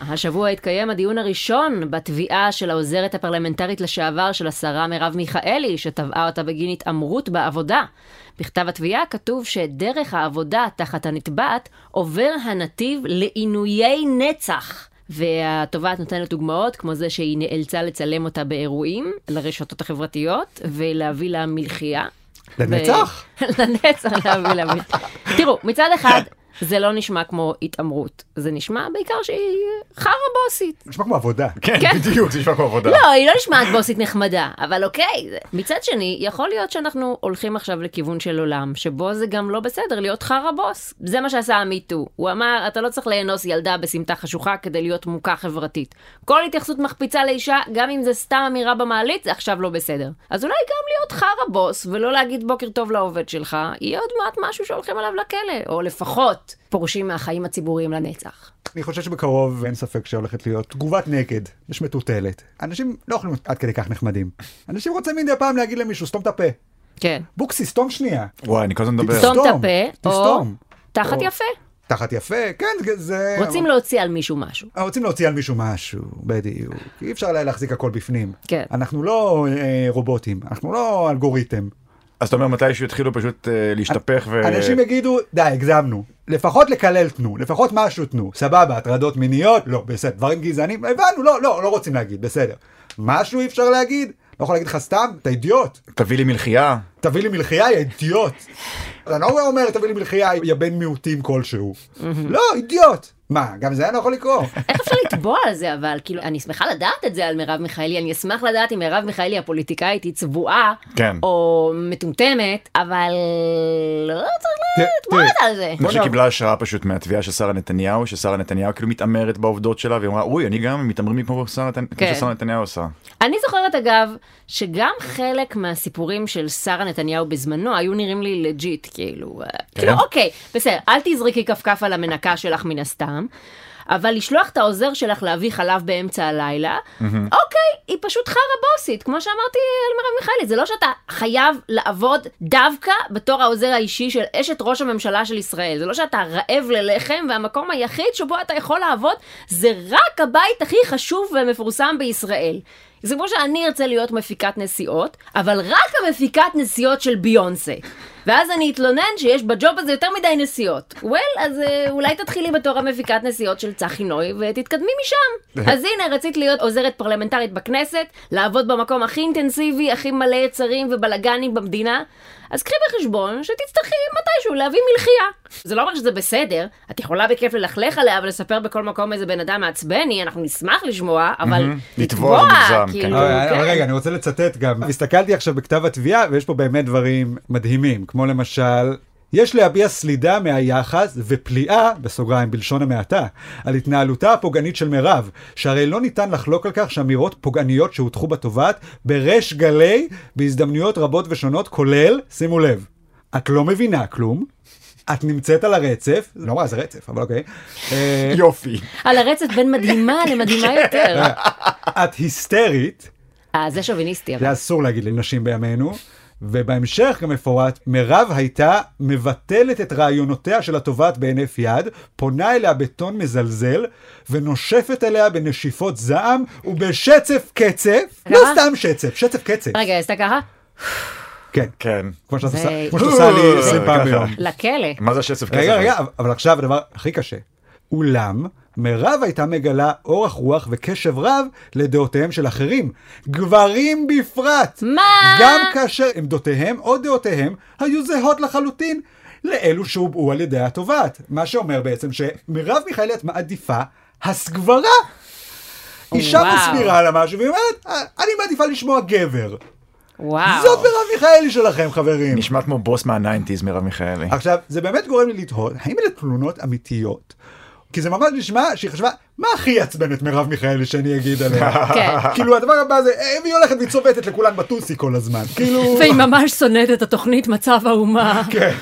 [SPEAKER 2] השבוע התקיים הדיון הראשון בתביעה של העוזרת הפרלמנטרית לשעבר של השרה מרב מיכאלי, שתבעה אותה בגין התעמרות בעבודה. בכתב התביעה כתוב שדרך העבודה תחת הנתבעת עובר הנתיב לעינויי נצח. והתובעת נותנת דוגמאות, כמו זה שהיא נאלצה לצלם אותה באירועים, לרשתות החברתיות, ולהביא לה מלחייה.
[SPEAKER 1] לנצח?
[SPEAKER 2] ו- [LAUGHS] לנצח להביא לה מלחייה. תראו, מצד אחד, זה לא נשמע כמו התעמרות, זה נשמע בעיקר שהיא חרא בוסית.
[SPEAKER 1] נשמע כמו עבודה.
[SPEAKER 3] כן,
[SPEAKER 2] כן.
[SPEAKER 3] בדיוק, זה נשמע כמו עבודה.
[SPEAKER 2] לא, היא לא נשמעת בוסית נחמדה, אבל אוקיי. זה- מצד שני, יכול להיות שאנחנו הולכים עכשיו לכיוון של עולם, שבו זה גם לא בסדר להיות חרא בוס. זה מה שעשה המיטו. הוא אמר, אתה לא צריך לאנוס ילדה בסמטה חשוכה כדי להיות מוכה חברתית. כל התייחסות מחפיצה לאישה, גם אם זה סתם אמירה במעלית, זה עכשיו לא בסדר. אז אולי גם להיות חרא בוס, ולא להגיד בוקר טוב לעובד שלך, יהיה עוד מעט משהו שהולכים עליו לכלא, או לפחות פורשים מהחיים הציבוריים לנצח.
[SPEAKER 1] אני חושב שבקרוב אין ספק שהולכת להיות תגובת נגד, יש מטוטלת. אנשים לא יכולים להיות עד כדי כך נחמדים. אנשים רוצים מדי פעם להגיד למישהו, סתום את הפה.
[SPEAKER 2] כן.
[SPEAKER 1] בוקסי, סתום שנייה.
[SPEAKER 3] וואי, אני כל הזמן מדבר.
[SPEAKER 2] סתום את
[SPEAKER 1] תסתום,
[SPEAKER 2] הפה, או
[SPEAKER 1] תסתום.
[SPEAKER 2] תחת
[SPEAKER 1] או-
[SPEAKER 2] יפה.
[SPEAKER 1] תחת יפה, כן, זה... אה,
[SPEAKER 2] רוצים להוציא על מישהו משהו.
[SPEAKER 1] רוצים להוציא על מישהו משהו, בדיוק. אי אפשר לה- להחזיק הכל בפנים.
[SPEAKER 2] כן.
[SPEAKER 1] אנחנו לא אה, רובוטים, אנחנו לא אלגוריתם.
[SPEAKER 3] אז אתה אומר מתישהו יתחילו פשוט אה, להשתפך ו...
[SPEAKER 1] אנשים יגידו, די, הגזמנו. לפחות לקלל תנו, לפחות משהו תנו. סבבה, הטרדות מיניות, לא, בסדר, דברים גזענים, הבנו, לא, לא, לא רוצים להגיד, בסדר. משהו אי אפשר להגיד? לא יכול להגיד לך סתם, אתה אידיוט.
[SPEAKER 3] תביא לי מלחייה.
[SPEAKER 1] תביא לי מלחייה, יא אידיוט. אני לא אומר, תביא לי מלחייה, יא בן מיעוטים כלשהו. לא, אידיוט. מה, גם זה היה לא יכול לקרות.
[SPEAKER 2] איך אפשר לתבוע על זה אבל? כאילו, אני שמחה לדעת את זה על מרב מיכאלי, אני אשמח לדעת אם מרב מיכאלי הפוליטיקאית היא צבועה,
[SPEAKER 3] כן.
[SPEAKER 2] או מטומטמת, אבל לא
[SPEAKER 1] ת-
[SPEAKER 2] צריך לתבוע
[SPEAKER 1] תראי,
[SPEAKER 2] אותה על זה.
[SPEAKER 3] אני חושב
[SPEAKER 1] בוא נע-
[SPEAKER 3] שקיבלה השראה פשוט מהתביעה של שרה נתניהו, ששרה נתניהו כאילו מתעמרת בעובדות שלה, והיא אמרה, אוי, אני גם מתעמרים לי כמו שרה נתנ- כמו
[SPEAKER 2] כן.
[SPEAKER 3] ששרה נתניהו עושה.
[SPEAKER 2] אני זוכרת אגב, שגם חלק מהסיפורים של שרה נתניהו בזמנו היו נראים לי לג'יט, כאילו, כן. כאילו, אוקיי, בסדר, אל תזרקי כפכף על המנקה שלך מן הסתם. אבל לשלוח את העוזר שלך להביא חלב באמצע הלילה, אוקיי, היא פשוט חרא בוסית, כמו שאמרתי על מרב מיכאלי, זה לא שאתה חייב לעבוד דווקא בתור העוזר האישי של אשת ראש הממשלה של ישראל, זה לא שאתה רעב ללחם והמקום היחיד שבו אתה יכול לעבוד זה רק הבית הכי חשוב ומפורסם בישראל. זה כמו שאני ארצה להיות מפיקת נסיעות, אבל רק המפיקת נסיעות של ביונסה. ואז אני אתלונן שיש בג'וב הזה יותר מדי נסיעות. וול, well, אז uh, אולי תתחילי בתור המפיקת נסיעות של צחי נוי ותתקדמי משם. אז הנה, רצית להיות עוזרת פרלמנטרית בכנסת, לעבוד במקום הכי אינטנסיבי, הכי מלא יצרים ובלאגנים במדינה. אז קחי בחשבון שתצטרכי מתישהו להביא מלחייה. זה לא אומר שזה בסדר, את יכולה בכיף ללכלך עליה ולספר בכל מקום איזה בן אדם מעצבן היא, אנחנו נשמח לשמוע, אבל
[SPEAKER 3] לתבוע זה מוגזם, כן.
[SPEAKER 2] כאילו,
[SPEAKER 1] אבל אבל
[SPEAKER 2] כן.
[SPEAKER 1] אוקיי, רגע, אני רוצה לצטט גם. הסתכלתי עכשיו בכתב התביעה, ויש פה באמת דברים מדהימים, כמו למשל... יש להביע סלידה מהיחס ופליאה, בסוגריים בלשון המעטה, על התנהלותה הפוגענית של מירב, שהרי לא ניתן לחלוק על כך שאמירות פוגעניות שהוטחו בתובעת בריש גלי בהזדמנויות רבות ושונות, כולל, שימו לב, את לא מבינה כלום, את נמצאת על הרצף, לא מה זה רצף, אבל אוקיי, אה,
[SPEAKER 3] יופי.
[SPEAKER 2] על הרצף בין מדהימה למדהימה
[SPEAKER 1] [LAUGHS]
[SPEAKER 2] יותר.
[SPEAKER 1] את היסטרית,
[SPEAKER 2] אה, זה שוביניסטי, אבל.
[SPEAKER 1] זה אסור להגיד לנשים בימינו. ובהמשך גם מפורט, מירב הייתה מבטלת את רעיונותיה של התובעת בהינף יד, פונה אליה בטון מזלזל, ונושפת אליה בנשיפות זעם ובשצף קצף, לא
[SPEAKER 2] כמה?
[SPEAKER 1] סתם שצף, שצף קצף.
[SPEAKER 2] רגע, היא עשתה ככה?
[SPEAKER 1] כן,
[SPEAKER 3] כן.
[SPEAKER 1] כמו שאת עושה-
[SPEAKER 2] זה-
[SPEAKER 1] כמו שאת עושה לי 20 פעם
[SPEAKER 3] ככה.
[SPEAKER 1] ביום.
[SPEAKER 2] לכלא.
[SPEAKER 3] מה זה השצף
[SPEAKER 1] רגע, רגע, אבל עכשיו הדבר הכי קשה. אולם, מירב הייתה מגלה אורך רוח וקשב רב לדעותיהם של אחרים. גברים בפרט!
[SPEAKER 2] מה?
[SPEAKER 1] גם כאשר עמדותיהם או דעותיהם היו זהות לחלוטין לאלו שהובעו על ידי התובעת. מה שאומר בעצם שמרב מיכאלי את מעדיפה הסגברה. אישה
[SPEAKER 2] וואו.
[SPEAKER 1] מסבירה לה משהו והיא אומרת, "אה, אני מעדיפה לשמוע גבר.
[SPEAKER 2] וואו.
[SPEAKER 1] זאת מרב מיכאלי שלכם, חברים.
[SPEAKER 3] נשמע כמו בוס מהניינטיז מרב מיכאלי.
[SPEAKER 1] עכשיו, זה באמת גורם לי לתהות, האם אלה תלונות אמיתיות? כי זה ממש נשמע שהיא חשבה, מה הכי יעצבן את מרב מיכאלי שאני אגיד עליה?
[SPEAKER 2] כן.
[SPEAKER 1] כאילו הדבר הבא זה, "אה, והיא הולכת והיא צובטת לכולן בטוסי כל הזמן. כאילו,
[SPEAKER 2] והיא ממש שונאת את התוכנית מצב האומה.
[SPEAKER 1] כן.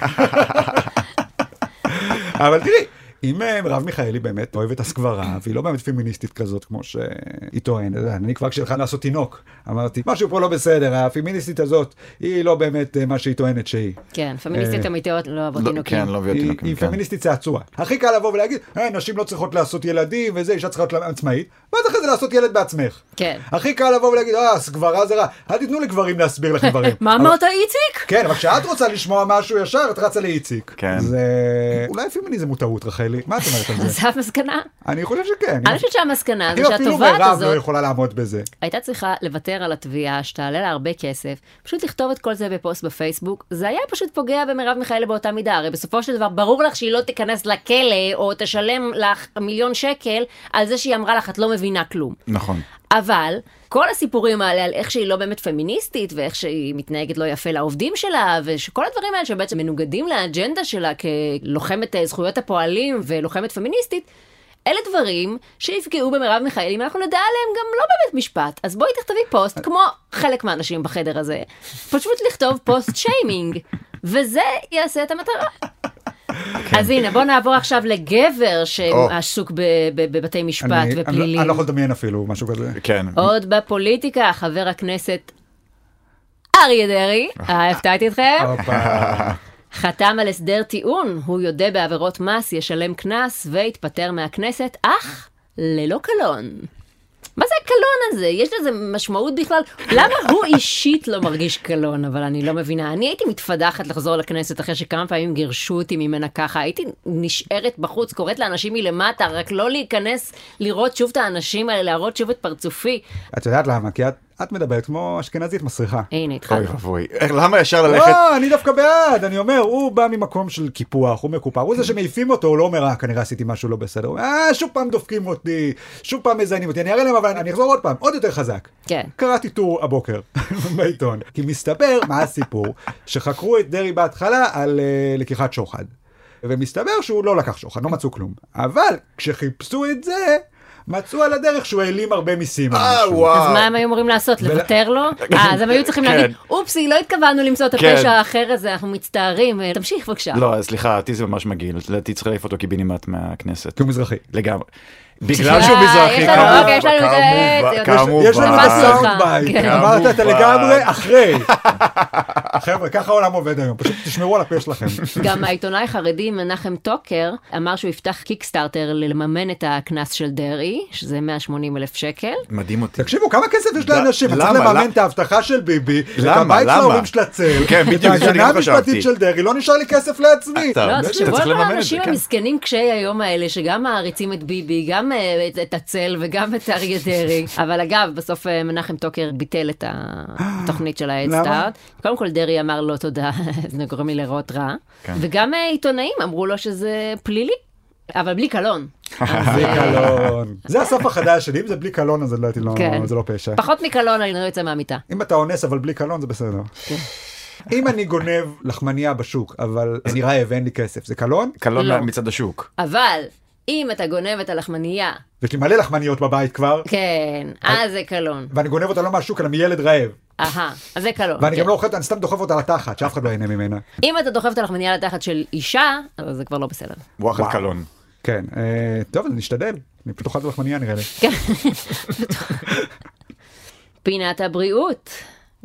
[SPEAKER 1] אבל תראי, אם אה, מרב מיכאלי באמת אוהבת הסגברה, והיא לא באמת פמיניסטית כזאת כמו שהיא טוענת, אה, אני כבר כשהלכה לעשות תינוק, אמרתי, משהו פה לא בסדר, הפמיניסטית הזאת, היא לא באמת אה, מה שהיא טוענת שהיא.
[SPEAKER 2] כן, פמיניסטיות
[SPEAKER 1] אה,
[SPEAKER 2] אמיתיות לא אוהבות
[SPEAKER 3] לא,
[SPEAKER 2] תינוקים.
[SPEAKER 3] כן, לא הביאו
[SPEAKER 1] היא,
[SPEAKER 3] תינוקים,
[SPEAKER 1] היא
[SPEAKER 3] כן.
[SPEAKER 1] פמיניסטית צעצוע. הכי קל לבוא ולהגיד, "אה, נשים לא צריכות לעשות ילדים וזה, אישה צריכה להיות עצמאית, ואז אחרי זה לעשות ילד בעצמך.
[SPEAKER 2] כן.
[SPEAKER 1] הכי קל לבוא ולהגיד, אה, סגברה זה רע, אל תיתנו לגברים להסביר לכם דברים.
[SPEAKER 2] [LAUGHS] מה
[SPEAKER 1] אבל-
[SPEAKER 2] אמרת, איציק?
[SPEAKER 1] כן, אבל כשאת רוצה לשמוע משהו ישר, את רצה לאיציק.
[SPEAKER 3] כן.
[SPEAKER 1] זה... אולי פמיניזם הוא טעות, רחלי. מה את אומרת
[SPEAKER 2] [LAUGHS]
[SPEAKER 1] על זה?
[SPEAKER 2] זה המסקנה.
[SPEAKER 1] אני חושב שכן.
[SPEAKER 2] אני חושבת שהמסקנה זה
[SPEAKER 1] אפילו- אפילו
[SPEAKER 2] שהתובעת
[SPEAKER 1] מירב לא
[SPEAKER 2] הזאת
[SPEAKER 1] יכולה לעמוד בזה.
[SPEAKER 2] הייתה צריכה לוותר על התביעה שתעלה לה הרבה כסף, פשוט לכתוב את כל זה בפוסט בפייסבוק, זה היה פשוט פוגע במרב מיכאלי באותה מידה, הרי בסופו של דבר ברור לך שהיא לא תיכנס לכלא או תשלם לך מיליון שקל על זה שהיא אמרה לך את לא מבינה כלום.
[SPEAKER 3] נכון.
[SPEAKER 2] אבל כל הסיפורים האלה על איך שהיא לא באמת פמיניסטית ואיך שהיא מתנהגת לא יפה לעובדים שלה ושכל הדברים האלה שבעצם מנוגדים לאג'נדה שלה כלוחמת אה, זכויות הפועלים ולוחמת פמיניסטית. אלה דברים שיפגעו במרב מיכאלי, אם אנחנו נדע עליהם גם לא באמת משפט. אז בואי תכתבי פוסט, כמו חלק מהאנשים בחדר הזה, פשוט לכתוב פוסט שיימינג, וזה יעשה את המטרה.
[SPEAKER 1] כן.
[SPEAKER 2] אז הנה, בוא נעבור עכשיו לגבר שעסוק ב- ב- בבתי משפט
[SPEAKER 1] אני- אני לא-
[SPEAKER 2] ופלילים.
[SPEAKER 1] אני לא יכול לדמיין אפילו משהו
[SPEAKER 2] [LAUGHS]
[SPEAKER 1] כזה.
[SPEAKER 3] כן.
[SPEAKER 2] עוד בפוליטיקה, חבר הכנסת אריה דרעי, אה, הפתעתי אתכם,
[SPEAKER 1] הופה.
[SPEAKER 2] חתם על הסדר טיעון, הוא יודה בעבירות מס, ישלם קנס ויתפטר מהכנסת, אך ללא קלון. מה זה הקלון הזה? יש לזה משמעות בכלל? למה הוא אישית לא מרגיש קלון, אבל אני לא מבינה. אני הייתי מתפדחת לחזור לכנסת אחרי שכמה פעמים גירשו אותי ממנה ככה. הייתי נשארת בחוץ, קוראת לאנשים מלמטה, רק לא להיכנס לראות שוב את האנשים האלה, להראות שוב את פרצופי.
[SPEAKER 1] את יודעת למה? כי את- את מדברת כמו אשכנזית מסריחה.
[SPEAKER 2] הנה, התחלנו.
[SPEAKER 3] אוי ואבוי. איך- למה ישר ללכת?
[SPEAKER 1] לא, אני דווקא בעד, אני אומר, הוא בא ממקום של קיפוח, הוא מקופח, הוא זה שמעיפים אותו, הוא לא אומר, אה, כנראה עשיתי משהו לא בסדר, הוא אומר, אה, שוב פעם דופקים אותי, שוב פעם מזיינים אותי, אני אראה להם, אבל אני אחזור עוד פעם, עוד יותר חזק.
[SPEAKER 2] כן.
[SPEAKER 1] קראתי טור הבוקר [LAUGHS] בעיתון, כי מסתבר, מה הסיפור? שחקרו את דרעי בהתחלה על אה, לקיחת שוחד. ומסתבר שהוא לא לקח שוחד, לא מצאו כלום. אבל כשחיפשו את זה, מצאו על הדרך שהוא העלים הרבה מיסים. על
[SPEAKER 3] אה,
[SPEAKER 1] משהו.
[SPEAKER 3] וואו.
[SPEAKER 2] אז מה הם היו אמורים לעשות? לוותר
[SPEAKER 3] [LAUGHS]
[SPEAKER 2] לו? אה, אז הם היו צריכים
[SPEAKER 3] כן.
[SPEAKER 2] להגיד, אופסי, לא התכוונו למצוא את
[SPEAKER 3] כן.
[SPEAKER 2] הפשע האחר הזה, אנחנו מצטערים. אה, תמשיך בבקשה.
[SPEAKER 3] לא, סליחה, אותי זה ממש מגעיל. לדעתי צריך להעיף אותו קיבינימט מהכנסת.
[SPEAKER 1] כי הוא מזרחי.
[SPEAKER 3] לגמרי. בגלל שהוא
[SPEAKER 2] אה,
[SPEAKER 3] מזרחי,
[SPEAKER 2] יש לנו-
[SPEAKER 3] כמובן.
[SPEAKER 2] אוקיי, יש לנו את זה,
[SPEAKER 3] כמובן,
[SPEAKER 2] זה-
[SPEAKER 1] יש לנו את
[SPEAKER 2] תפסתי אותך.
[SPEAKER 1] הסאונד בייט,
[SPEAKER 2] כן.
[SPEAKER 1] אמרת את
[SPEAKER 3] כמובן.
[SPEAKER 1] לגמרי
[SPEAKER 3] [LAUGHS]
[SPEAKER 1] אחרי. חבר'ה, ככה העולם עובד היום, פשוט תשמרו על הפה שלכם.
[SPEAKER 2] גם העיתונאי החרדי מנחם טוקר אמר שהוא יפתח קיקסטארטר לממן את הקנס של דרעי, שזה 180 אלף שקל.
[SPEAKER 3] מדהים אותי.
[SPEAKER 1] תקשיבו, כמה כסף יש לאנשים?
[SPEAKER 3] למה?
[SPEAKER 1] צריך לממן
[SPEAKER 3] למה?
[SPEAKER 1] את ההבטחה של ביבי, את
[SPEAKER 3] למה?
[SPEAKER 1] הבית של
[SPEAKER 3] למה?
[SPEAKER 1] ההורים של הצל,
[SPEAKER 3] כן,
[SPEAKER 1] את
[SPEAKER 3] בדיוק, זה אני
[SPEAKER 1] ההגנה
[SPEAKER 3] גם חשבתי.
[SPEAKER 1] המשפטית של דרעי, לא נשאר לי כסף לעצמי.
[SPEAKER 3] אתה-
[SPEAKER 2] לא,
[SPEAKER 3] אתה
[SPEAKER 2] תחשבו
[SPEAKER 3] צריך
[SPEAKER 2] על כל
[SPEAKER 3] לממן את זה,
[SPEAKER 2] האנשים
[SPEAKER 3] כן.
[SPEAKER 2] המסכנים קשי היום האלה, שגם מעריצים את ביבי, גם אה, את- את הצל וגם את אריה דרעי. אבל אגב, בסוף אה, מנחם טוקר ביטל את התוכנית של
[SPEAKER 1] למה?
[SPEAKER 2] האדסטארט. קודם כל דרעי אמר לא תודה, [LAUGHS] זה גורם לי לראות רע.
[SPEAKER 3] כן.
[SPEAKER 2] וגם אה, עיתונאים אמרו לו שזה פלילי, אבל בלי קלון. [LAUGHS] אז,
[SPEAKER 1] בלי
[SPEAKER 2] אה,
[SPEAKER 1] קלון. זה הסף החדש שלי, אם זה בלי קלון אז לדעתי לא-
[SPEAKER 2] כן.
[SPEAKER 1] זה לא פשע.
[SPEAKER 2] פחות מקלון אני לא יוצא מהמיטה.
[SPEAKER 1] אם אתה אונס אבל בלי קלון זה בסדר. אם אני גונב לחמנייה בשוק, אבל אני רעב ואין לי כסף, זה קלון?
[SPEAKER 3] קלון
[SPEAKER 2] לא.
[SPEAKER 3] מצד השוק.
[SPEAKER 2] אבל אם אתה גונב את הלחמנייה,
[SPEAKER 1] יש לי מלא לחמניות בבית כבר,
[SPEAKER 2] כן, אז זה קלון.
[SPEAKER 1] ואני גונב אותה לא מהשוק, אלא מילד רעב.
[SPEAKER 2] אהה, אז זה קלון.
[SPEAKER 1] ואני
[SPEAKER 2] כן.
[SPEAKER 1] גם לא אוכל אותה, אני סתם דוחף אותה לתחת, שאף אחד לא ייהנה ממנה.
[SPEAKER 2] אם אתה דוחף את הלחמנייה לתחת של אישה, אז זה כבר לא בסדר.
[SPEAKER 3] וואחד קלון.
[SPEAKER 1] כן, אה, טוב, אז נשתדל. אני פשוט אוכל את הלחמניה נראה לי.
[SPEAKER 2] פינת הבריאות.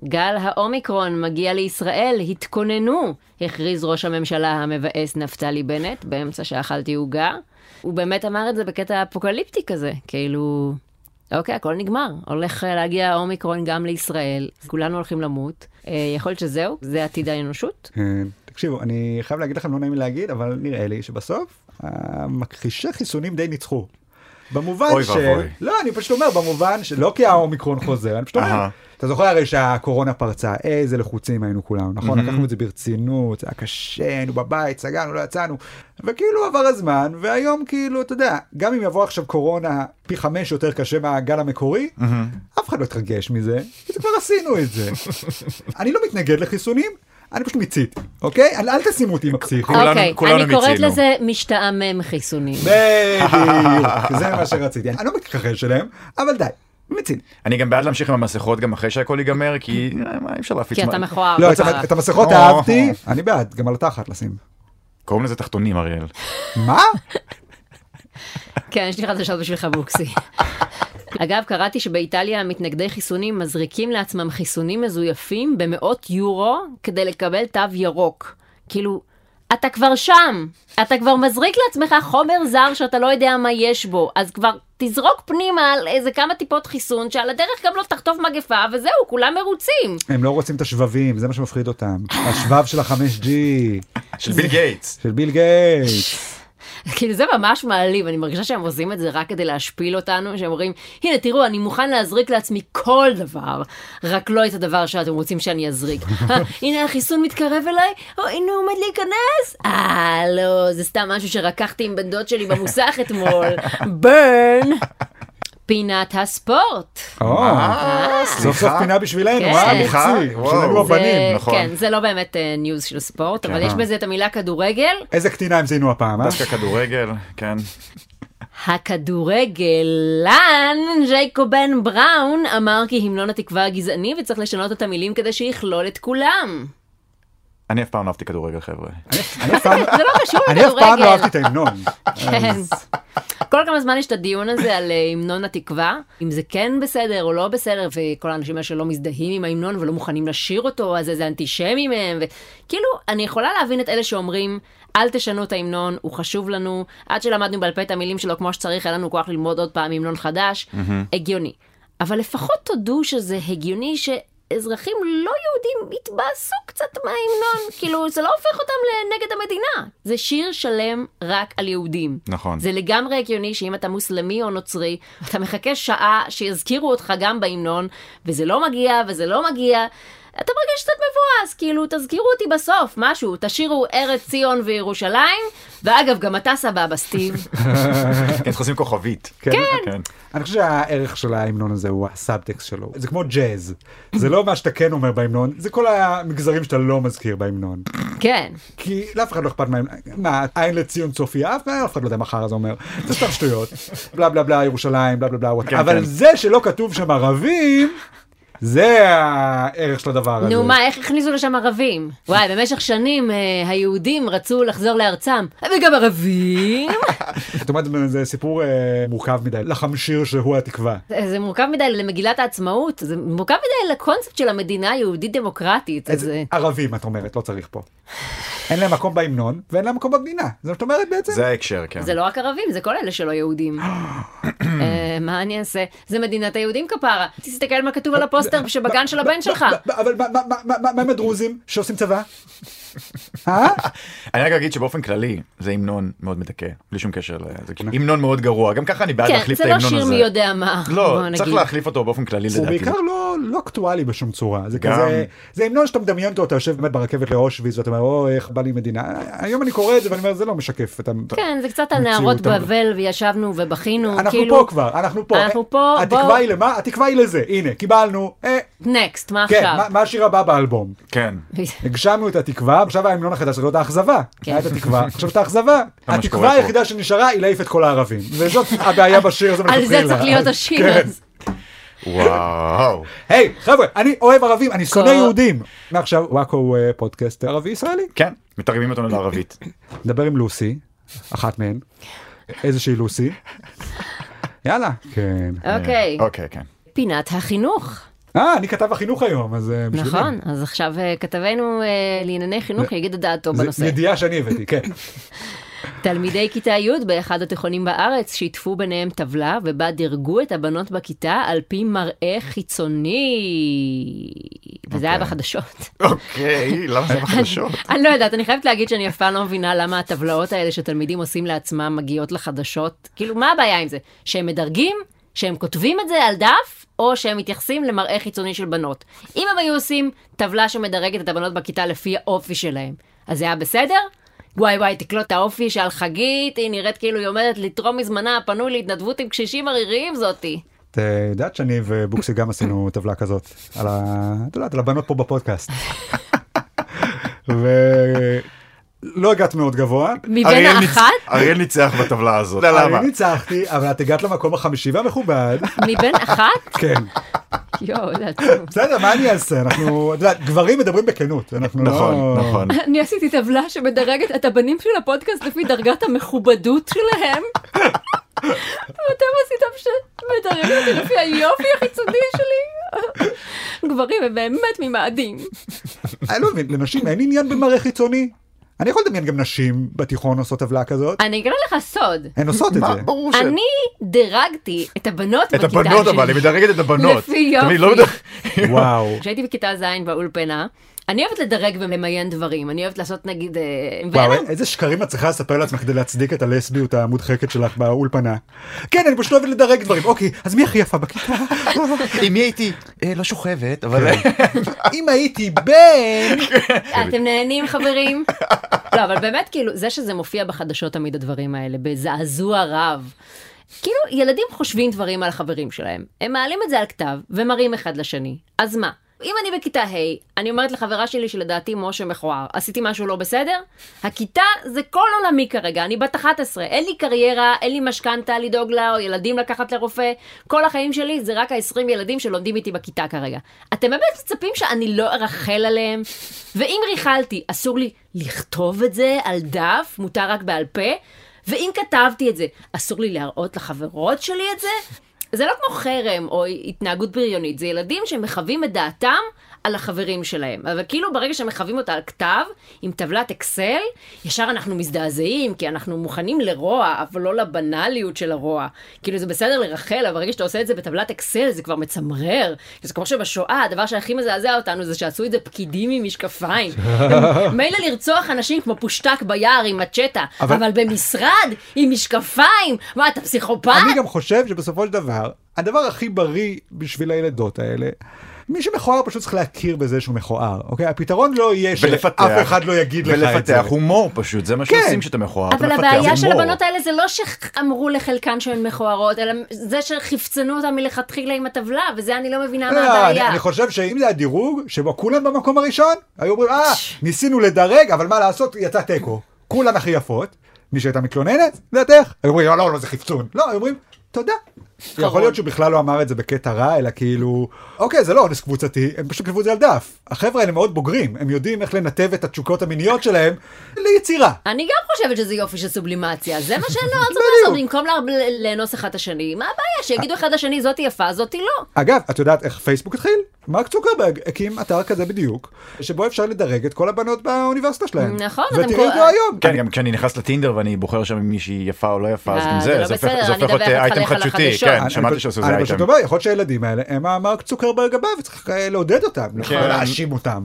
[SPEAKER 2] גל האומיקרון מגיע לישראל, התכוננו, הכריז ראש הממשלה המבאס נפתלי בנט, באמצע שאכלתי עוגה. הוא באמת אמר את זה בקטע אפוקליפטי כזה, כאילו, אוקיי, הכל נגמר. הולך אה, להגיע האומיקרון גם לישראל, כולנו הולכים למות. אה, יכול להיות שזהו, זה עתיד האנושות.
[SPEAKER 1] כן. תקשיבו, אני חייב להגיד לכם, לא נעים לי להגיד, אבל נראה לי שבסוף המכחישי חיסונים די ניצחו. במובן
[SPEAKER 3] אוי
[SPEAKER 1] ש...
[SPEAKER 3] ואבוי.
[SPEAKER 1] לא, אני פשוט אומר, במובן שלא כי האומיקרון חוזר, אני פשוט אומר.
[SPEAKER 3] אהה.
[SPEAKER 1] אתה זוכר הרי שהקורונה פרצה, איזה לחוצים היינו כולנו, נכון? לקחנו את זה ברצינות, זה היה קשה, היינו בבית, סגרנו, לא יצאנו, וכאילו עבר הזמן, והיום כאילו, אתה יודע, גם אם יבוא עכשיו קורונה פי חמש יותר קשה מהגל המקורי, אף אחד לא יתרגש מזה, כי זה כבר עשינו את זה. אני לא מתנגד לחיסונים, אני פשוט מיציתי, אוקיי? אל אל תשימו אותי עם
[SPEAKER 2] [LAUGHS]
[SPEAKER 1] הפסיכי.
[SPEAKER 3] כולנו-
[SPEAKER 2] אוקיי,
[SPEAKER 3] כולנו
[SPEAKER 2] אני קוראת
[SPEAKER 3] מיצינו.
[SPEAKER 2] לזה משתעמם חיסונים.
[SPEAKER 1] בדיוק, זה מה שרציתי. אני לא מתכחש אליהם, אבל די, מציני.
[SPEAKER 3] אני גם בעד להמשיך עם המסכות גם אחרי שהכל ייגמר, כי אה, מה, אי אפשר להפיץ...
[SPEAKER 2] כי
[SPEAKER 3] מה-
[SPEAKER 2] אתה מכוער.
[SPEAKER 1] לא, את-
[SPEAKER 2] בכלל.
[SPEAKER 1] את המסכות
[SPEAKER 3] או.
[SPEAKER 1] אהבתי, אני בעד, גם על התחת לשים.
[SPEAKER 3] קוראים לזה תחתונים, אריאל.
[SPEAKER 1] מה?
[SPEAKER 2] כן, יש לי חדשות בשבילך בוקסי. אגב, קראתי שבאיטליה מתנגדי חיסונים מזריקים לעצמם חיסונים מזויפים במאות יורו כדי לקבל תו ירוק. כאילו, אתה כבר שם, אתה כבר מזריק לעצמך חומר זר שאתה לא יודע מה יש בו, אז כבר תזרוק פנימה על איזה כמה טיפות חיסון, שעל הדרך גם לא תחטוף מגפה, וזהו, כולם מרוצים.
[SPEAKER 1] הם לא רוצים את השבבים, זה מה שמפחיד אותם. השבב של ה-5G,
[SPEAKER 3] של
[SPEAKER 2] אה.
[SPEAKER 3] ביל גייטס.
[SPEAKER 1] של ביל גייטס.
[SPEAKER 2] כאילו זה ממש מעליב, אני מרגישה שהם עושים את זה רק כדי להשפיל אותנו, שהם אומרים, הנה תראו, אני מוכן להזריק לעצמי כל דבר, רק לא את הדבר שאתם רוצים שאני אזריק. "אה, הנה החיסון מתקרב אליי, או הנה הוא עומד להיכנס. אה, לא, זה סתם משהו שרקחתי עם בן דוד שלי במוסך אתמול. ברן. פינת הספורט.
[SPEAKER 1] או,
[SPEAKER 3] אה,
[SPEAKER 1] סוף סוף
[SPEAKER 3] סליחה.
[SPEAKER 1] פינה בשבילנו,
[SPEAKER 2] כן.
[SPEAKER 1] אה,
[SPEAKER 2] סליחה?
[SPEAKER 1] מוציא,
[SPEAKER 3] וואו.
[SPEAKER 1] שלנו
[SPEAKER 2] זה-
[SPEAKER 1] הבנים.
[SPEAKER 3] נכון.
[SPEAKER 2] כן, זה לא באמת אה, ניוז של ספורט, אבל יש בזה את המילה כדורגל.
[SPEAKER 1] איזה קטינה המצינו הפעם, אה?
[SPEAKER 3] דווקא כדורגל, כן.
[SPEAKER 2] הכדורגלן ג'ייקובן בראון אמר כי המנון התקווה הגזעני וצריך לשנות את המילים כדי שיכלול את כולם.
[SPEAKER 3] אני אף פעם לא אהבתי כדורגל, חבר'ה.
[SPEAKER 1] אני אף פעם-
[SPEAKER 2] זה לא קשור
[SPEAKER 1] אני אף פעם לא אהבתי
[SPEAKER 2] לכדורגל.
[SPEAKER 1] את ההמנון.
[SPEAKER 2] כן. כל כמה זמן יש את הדיון הזה על אה, המנון התקווה, אם זה כן בסדר או לא בסדר, וכל האנשים האלה שלא מזדהים עם ההמנון ולא מוכנים לשיר אותו, אז איזה אנטישמי מהם, וכאילו, אני יכולה להבין את אלה שאומרים, אל תשנו את ההמנון, הוא חשוב לנו, עד שלמדנו בעל פה את המילים שלו כמו שצריך, היה לנו כוח ללמוד עוד פעם המנון חדש, הגיוני. אבל לפחות תודו שזה הגיוני ש... אזרחים לא יהודים התבאסו קצת מההמנון, [LAUGHS] כאילו זה לא הופך אותם לנגד המדינה. זה שיר שלם רק על יהודים.
[SPEAKER 3] נכון.
[SPEAKER 2] זה לגמרי הגיוני שאם אתה מוסלמי או נוצרי, אתה מחכה שעה שיזכירו אותך גם בהמנון, וזה לא מגיע וזה לא מגיע. אתה מרגיש קצת מבואס, כאילו, תזכירו אותי בסוף, משהו, תשאירו ארץ ציון וירושלים, ואגב, גם אתה סבבה, סטיב.
[SPEAKER 3] כן, צריך לשים כוכבית.
[SPEAKER 1] כן.
[SPEAKER 3] כן.
[SPEAKER 1] אני חושב שהערך של ההמנון הזה הוא הסאבטקסט שלו. זה כמו ג'אז. זה לא מה שאתה כן אומר בהמנון, זה כל המגזרים שאתה לא מזכיר בהמנון.
[SPEAKER 2] כן.
[SPEAKER 1] כי לאף אחד לא אכפת מהם, מה, עין לציון צופיה, אף אף אחד לא יודע מה חרא זה אומר, זה סתם שטויות, בלה בלה בלה ירושלים, בלה בלה בלה, וואט-
[SPEAKER 3] כן,
[SPEAKER 1] אבל
[SPEAKER 3] כן.
[SPEAKER 1] זה שלא כתוב שם ערבים, זה הערך של הדבר הזה.
[SPEAKER 2] נו מה, איך הכניסו לשם ערבים? וואי, במשך שנים אה, היהודים רצו לחזור לארצם, וגם ערבים. [LAUGHS]
[SPEAKER 1] זאת אומרת, זה סיפור אה, מורכב מדי, לחמשיר שהוא התקווה.
[SPEAKER 2] זה זה מורכב מדי למגילת העצמאות, זה מורכב מדי לקונספט של המדינה היהודית דמוקרטית. אז... אה,
[SPEAKER 1] איזה- ערבים, את אומרת, לא צריך פה. אין להם מקום בהמנון, ואין להם מקום במדינה, זה מה שאת אומרת בעצם?
[SPEAKER 3] זה ההקשר, כן.
[SPEAKER 2] זה לא רק ערבים, זה כל אלה שלא יהודים. אה, מה אני אעשה? זה מדינת היהודים כפרה. תסתכל מה כתוב על הפוסטר שבגן של הבן שלך.
[SPEAKER 1] ב- ב- אבל מה- מה- מה- מה- מה עם הדרוזים שעושים צבא? אה?
[SPEAKER 3] אני רק אגיד שבאופן כללי, זה המנון מאוד מדכא, בלי שום קשר לזה. המנון מאוד גרוע, גם ככה אני בעד
[SPEAKER 2] כן,
[SPEAKER 3] להחליף את
[SPEAKER 2] זה לא
[SPEAKER 3] ההמנון הזה.
[SPEAKER 2] שיר מי יודע מה. בוא
[SPEAKER 3] לא,
[SPEAKER 2] נגיד.
[SPEAKER 3] צריך להחליף אותו באופן כללי
[SPEAKER 1] הוא
[SPEAKER 3] לדעתי.
[SPEAKER 1] בעיקר לא, לא אקטואלי בשום צורה, זה
[SPEAKER 3] גם.
[SPEAKER 1] כזה, זה המנון שאתה מדמיין אותו, אתה יושב באמת ברכבת לאושוויץ ואתה אומר, או איך בא לי מדינה, היום אני קורא את זה ואני אומר, זה לא משקף את ה...
[SPEAKER 2] כן, זה קצת על נערות
[SPEAKER 1] מציאות, אבל-
[SPEAKER 2] בבל, וישבנו ובכינו,
[SPEAKER 1] אנחנו
[SPEAKER 2] כאילו...
[SPEAKER 1] פה כבר, אנחנו פה. אה,
[SPEAKER 2] אנחנו פה,
[SPEAKER 1] התקווה
[SPEAKER 2] בואו-
[SPEAKER 1] היא למה? התקווה היא לזה, הנה, קיבלנו, אה,
[SPEAKER 2] נקסט, מה
[SPEAKER 1] כן,
[SPEAKER 2] עכשיו? [LAUGHS]
[SPEAKER 1] מה- מה השיר הבא באלבום?
[SPEAKER 3] כן.
[SPEAKER 1] הגשמנו את התקווה, עכשיו ההמנון החדש, זאת האכזבה.
[SPEAKER 2] כן.
[SPEAKER 1] היה את התקווה, עכשיו את
[SPEAKER 3] [LAUGHS]
[SPEAKER 1] האכזבה.
[SPEAKER 3] מה שקורה
[SPEAKER 1] התקווה
[SPEAKER 3] פה.
[SPEAKER 1] היחידה שנשארה היא להעיף את כל הערבים.
[SPEAKER 2] [LAUGHS]
[SPEAKER 1] וזאת הבעיה בשיר הזה
[SPEAKER 2] על זה
[SPEAKER 1] מלכתחילה.
[SPEAKER 2] צריך להיות
[SPEAKER 1] אז-
[SPEAKER 2] השיר.
[SPEAKER 1] כן.
[SPEAKER 2] אז-
[SPEAKER 3] וואו.
[SPEAKER 1] היי, חבר'ה, אני אוהב ערבים, אני שונא
[SPEAKER 2] כל-
[SPEAKER 1] יהודים. מעכשיו, וואקו הוא אה, פודקאסט ערבי-ישראלי.
[SPEAKER 3] כן, מתרגמים אותנו לערבית.
[SPEAKER 1] נדבר עם לוסי, אחת מהן, איזושהי לוסי. יאללה. כן.
[SPEAKER 2] אוקיי,
[SPEAKER 3] אוקיי, כן.
[SPEAKER 2] פינת החינוך.
[SPEAKER 1] אה, אני כתב החינוך היום, אז אה, בשבילי.
[SPEAKER 2] נכון, אז עכשיו אה, כתבנו אה, לענייני חינוך
[SPEAKER 1] זה-
[SPEAKER 2] יגיד את דעתו
[SPEAKER 1] זו
[SPEAKER 2] לא בנושא.
[SPEAKER 1] ידיעה שאני הבאתי, כן.
[SPEAKER 2] תלמידי כיתה י' באחד התיכונים בארץ שיתפו ביניהם טבלה ובה דירגו את הבנות בכיתה על פי מראה חיצוני. וזה היה בחדשות.
[SPEAKER 3] אוקיי, למה זה
[SPEAKER 2] [LAUGHS]
[SPEAKER 3] בחדשות?
[SPEAKER 2] אני לא יודעת, אני חייבת להגיד שאני אף פעם לא מבינה למה הטבלאות האלה שתלמידים עושים לעצמם מגיעות לחדשות. כאילו, מה הבעיה עם זה? שהם מדרגים? שהם כותבים את זה על דף? או שהם מתייחסים למראה חיצוני של בנות? אם הם היו עושים טבלה שמדרגת את הבנות בכיתה לפי האופי שלהם, אז זה היה בסדר? וואי וואי, תקלוט את האופי שעל חגית, היא נראית כאילו היא עומדת לתרום מזמנה הפנוי להתנדבות עם קשישים עריריים זאתי.
[SPEAKER 1] את אה, יודעת שאני ובוקסי גם עשינו טבלה כזאת, על ה... את יודעת, על הבנות פה בפודקאסט. ולא לא הגעת מאוד גבוה.
[SPEAKER 2] מבין
[SPEAKER 3] אריאל ניצ-
[SPEAKER 2] האחת? לא,
[SPEAKER 3] אריאל ניצח בטבלה הזאת. למה?
[SPEAKER 1] אני ניצחתי, אבל את הגעת למקום החמישי והמכובד.
[SPEAKER 2] מבין אחת?
[SPEAKER 1] כן.
[SPEAKER 2] יואו, זה עצוב.
[SPEAKER 1] בסדר, מה אני אעשה? אנחנו, את יודעת, גברים מדברים בכנות. אנחנו לא...
[SPEAKER 3] נכון,
[SPEAKER 2] [LAUGHS]
[SPEAKER 3] נכון.
[SPEAKER 2] אני עשיתי טבלה שמדרגת את הבנים של הפודקאסט לפי דרגת המכובדות שלהם. ואתם עשיתם שמדרגת אותי לפי היופי החיצוני שלי. גברים הם באמת ממאדים.
[SPEAKER 1] אני לא מבין, לנשים אין עניין במראה חיצוני? אני יכול לדמיין גם נשים בתיכון עושות טבלה כזאת.
[SPEAKER 2] אני אגלה לך סוד.
[SPEAKER 1] הן עושות את
[SPEAKER 3] מה,
[SPEAKER 1] זה.
[SPEAKER 3] ברור ש...
[SPEAKER 2] אני דירגתי את הבנות
[SPEAKER 3] את
[SPEAKER 2] בכיתה שלי.
[SPEAKER 3] הבנות אבל, היא מדרגת את הבנות.
[SPEAKER 2] לפי יופי.
[SPEAKER 3] תמיד, לא מדרג-
[SPEAKER 2] [LAUGHS]
[SPEAKER 1] וואו.
[SPEAKER 2] כשהייתי בכיתה ז' באולפנה, אני אוהבת לדרג ולמיין דברים. אני אוהבת לעשות נגיד... אה,
[SPEAKER 1] וואו,
[SPEAKER 2] ואלה-
[SPEAKER 1] איזה שקרים את צריכה לספר לעצמך כדי להצדיק את הלסביות המודחקת שלך באולפנה. כן, אני פשוט לא אוהבת לדרג דברים. אוקיי, אז מי הכי יפה בכיתה?
[SPEAKER 3] עם מי הייתי? אה, לא שוכבת, אבל...
[SPEAKER 1] אם הייתי בן...
[SPEAKER 2] אתם נהנים חברים? [LAUGHS] לא, אבל באמת, כאילו, זה שזה מופיע בחדשות תמיד הדברים האלה, בזעזוע רב. כאילו, ילדים חושבים דברים על החברים שלהם. הם מעלים את זה על כתב ומראים אחד לשני. אז מה? אם אני בכיתה ה', אני אומרת לחברה שלי שלדעתי משה מכוער, עשיתי משהו לא בסדר? הכיתה זה כל עולמי כרגע, אני בת 11, אין לי קריירה, אין לי משכנתה לדאוג לה, או ילדים לקחת לרופא, כל החיים שלי זה רק ה-20 ילדים שלומדים איתי בכיתה כרגע. אתם באמת מצפים שאני לא ארחל עליהם? ואם ריחלתי, אסור לי לכתוב את זה על דף, מותר רק בעל פה? ואם כתבתי את זה, אסור לי להראות לחברות שלי את זה? זה לא כמו חרם או התנהגות בריונית, זה ילדים שמחווים את דעתם על החברים שלהם. אבל כאילו ברגע שמחווים אותה על כתב, עם טבלת אקסל, ישר אנחנו מזדעזעים, כי אנחנו מוכנים לרוע, אבל לא לבנאליות של הרוע. כאילו זה בסדר לרחל, אבל ברגע שאתה עושה את זה בטבלת אקסל, זה כבר מצמרר. זה כמו שבשואה, הדבר שהכי מזעזע אותנו זה שעשו את זה פקידים עם משקפיים. מילא לרצוח אנשים כמו פושטק ביער עם מצ'טה,
[SPEAKER 1] אבל-
[SPEAKER 2] אבל... אבל במשרד עם משקפיים? מה, אתה פסיכופת?
[SPEAKER 1] אני גם חושב שבסופו של דבר, הדבר הכי בריא בשביל הילדות האלה, מי שמכוער פשוט צריך להכיר בזה שהוא מכוער, אוקיי? הפתרון לא יהיה
[SPEAKER 3] ולפתח.
[SPEAKER 1] שאף אחד לא יגיד לך את זה.
[SPEAKER 3] ולפתח הומור פשוט, זה מה
[SPEAKER 1] כן.
[SPEAKER 3] שעושים כשאתה מכוער. אתה
[SPEAKER 2] אבל
[SPEAKER 3] מפתח
[SPEAKER 2] הבעיה של
[SPEAKER 3] הומור.
[SPEAKER 2] הבנות האלה זה לא שאמרו לחלקן שהן מכוערות, אלא זה שחפצנו אותן מלכתחילה עם הטבלה, וזה אני לא מבינה מה
[SPEAKER 1] לא, אני
[SPEAKER 2] הבעיה.
[SPEAKER 1] אני חושב שאם זה הדירוג שבו כולם במקום הראשון היו אומרים אה
[SPEAKER 2] ש-
[SPEAKER 1] ניסינו לדרג אבל מה לעשות יצא תיקו כולן הכי יפות מי שהייתה מתלוננת דעתך היו אומרים לא לא לא זה חפצון לא היו אומרים תודה. יכול להיות שהוא בכלל לא אמר את זה בקטע רע אלא כאילו אוקיי זה לא אונס קבוצתי הם פשוט כתבו את זה על דף החברה האלה מאוד בוגרים הם יודעים איך לנתב את התשוקות המיניות שלהם ליצירה.
[SPEAKER 2] אני גם חושבת שזה יופי של סובלימציה, זה מה שהן לא רוצות לעשות, במקום לה- ל- לאנוס אחד את השני. מה הבעיה? שיגידו אחד לשני זאתי יפה, זאתי לא.
[SPEAKER 1] אגב, את יודעת איך פייסבוק התחיל? מרק צוקרברג הקים אתר כזה בדיוק, שבו אפשר לדרג את כל הבנות באוניברסיטה שלהם.
[SPEAKER 2] נכון, אתם
[SPEAKER 1] ותראי
[SPEAKER 2] כל-
[SPEAKER 1] אותו היום.
[SPEAKER 3] כן, גם כשאני נכנס לטינדר ואני בוחר שם אם מישהי יפה או לא יפה, אז
[SPEAKER 2] אה,
[SPEAKER 3] גם
[SPEAKER 2] זה לא
[SPEAKER 3] זה, זה הופך-
[SPEAKER 2] בסדר,
[SPEAKER 3] זה
[SPEAKER 2] אני
[SPEAKER 3] הופך להיות
[SPEAKER 2] מדברת
[SPEAKER 3] אה, אייטם
[SPEAKER 2] איתך על
[SPEAKER 3] חדשותי.
[SPEAKER 2] החדשות.
[SPEAKER 3] כן,
[SPEAKER 1] אני-
[SPEAKER 3] שמעתי
[SPEAKER 1] אני-
[SPEAKER 3] שעשו זה
[SPEAKER 1] אני פשוט
[SPEAKER 3] אייטם.
[SPEAKER 1] אומר, יכול להיות שהילדים האלה הם המרק צוקרברג הבא וצריך אה, לעודד אותם, לא
[SPEAKER 3] כן.
[SPEAKER 1] להאשים אותם.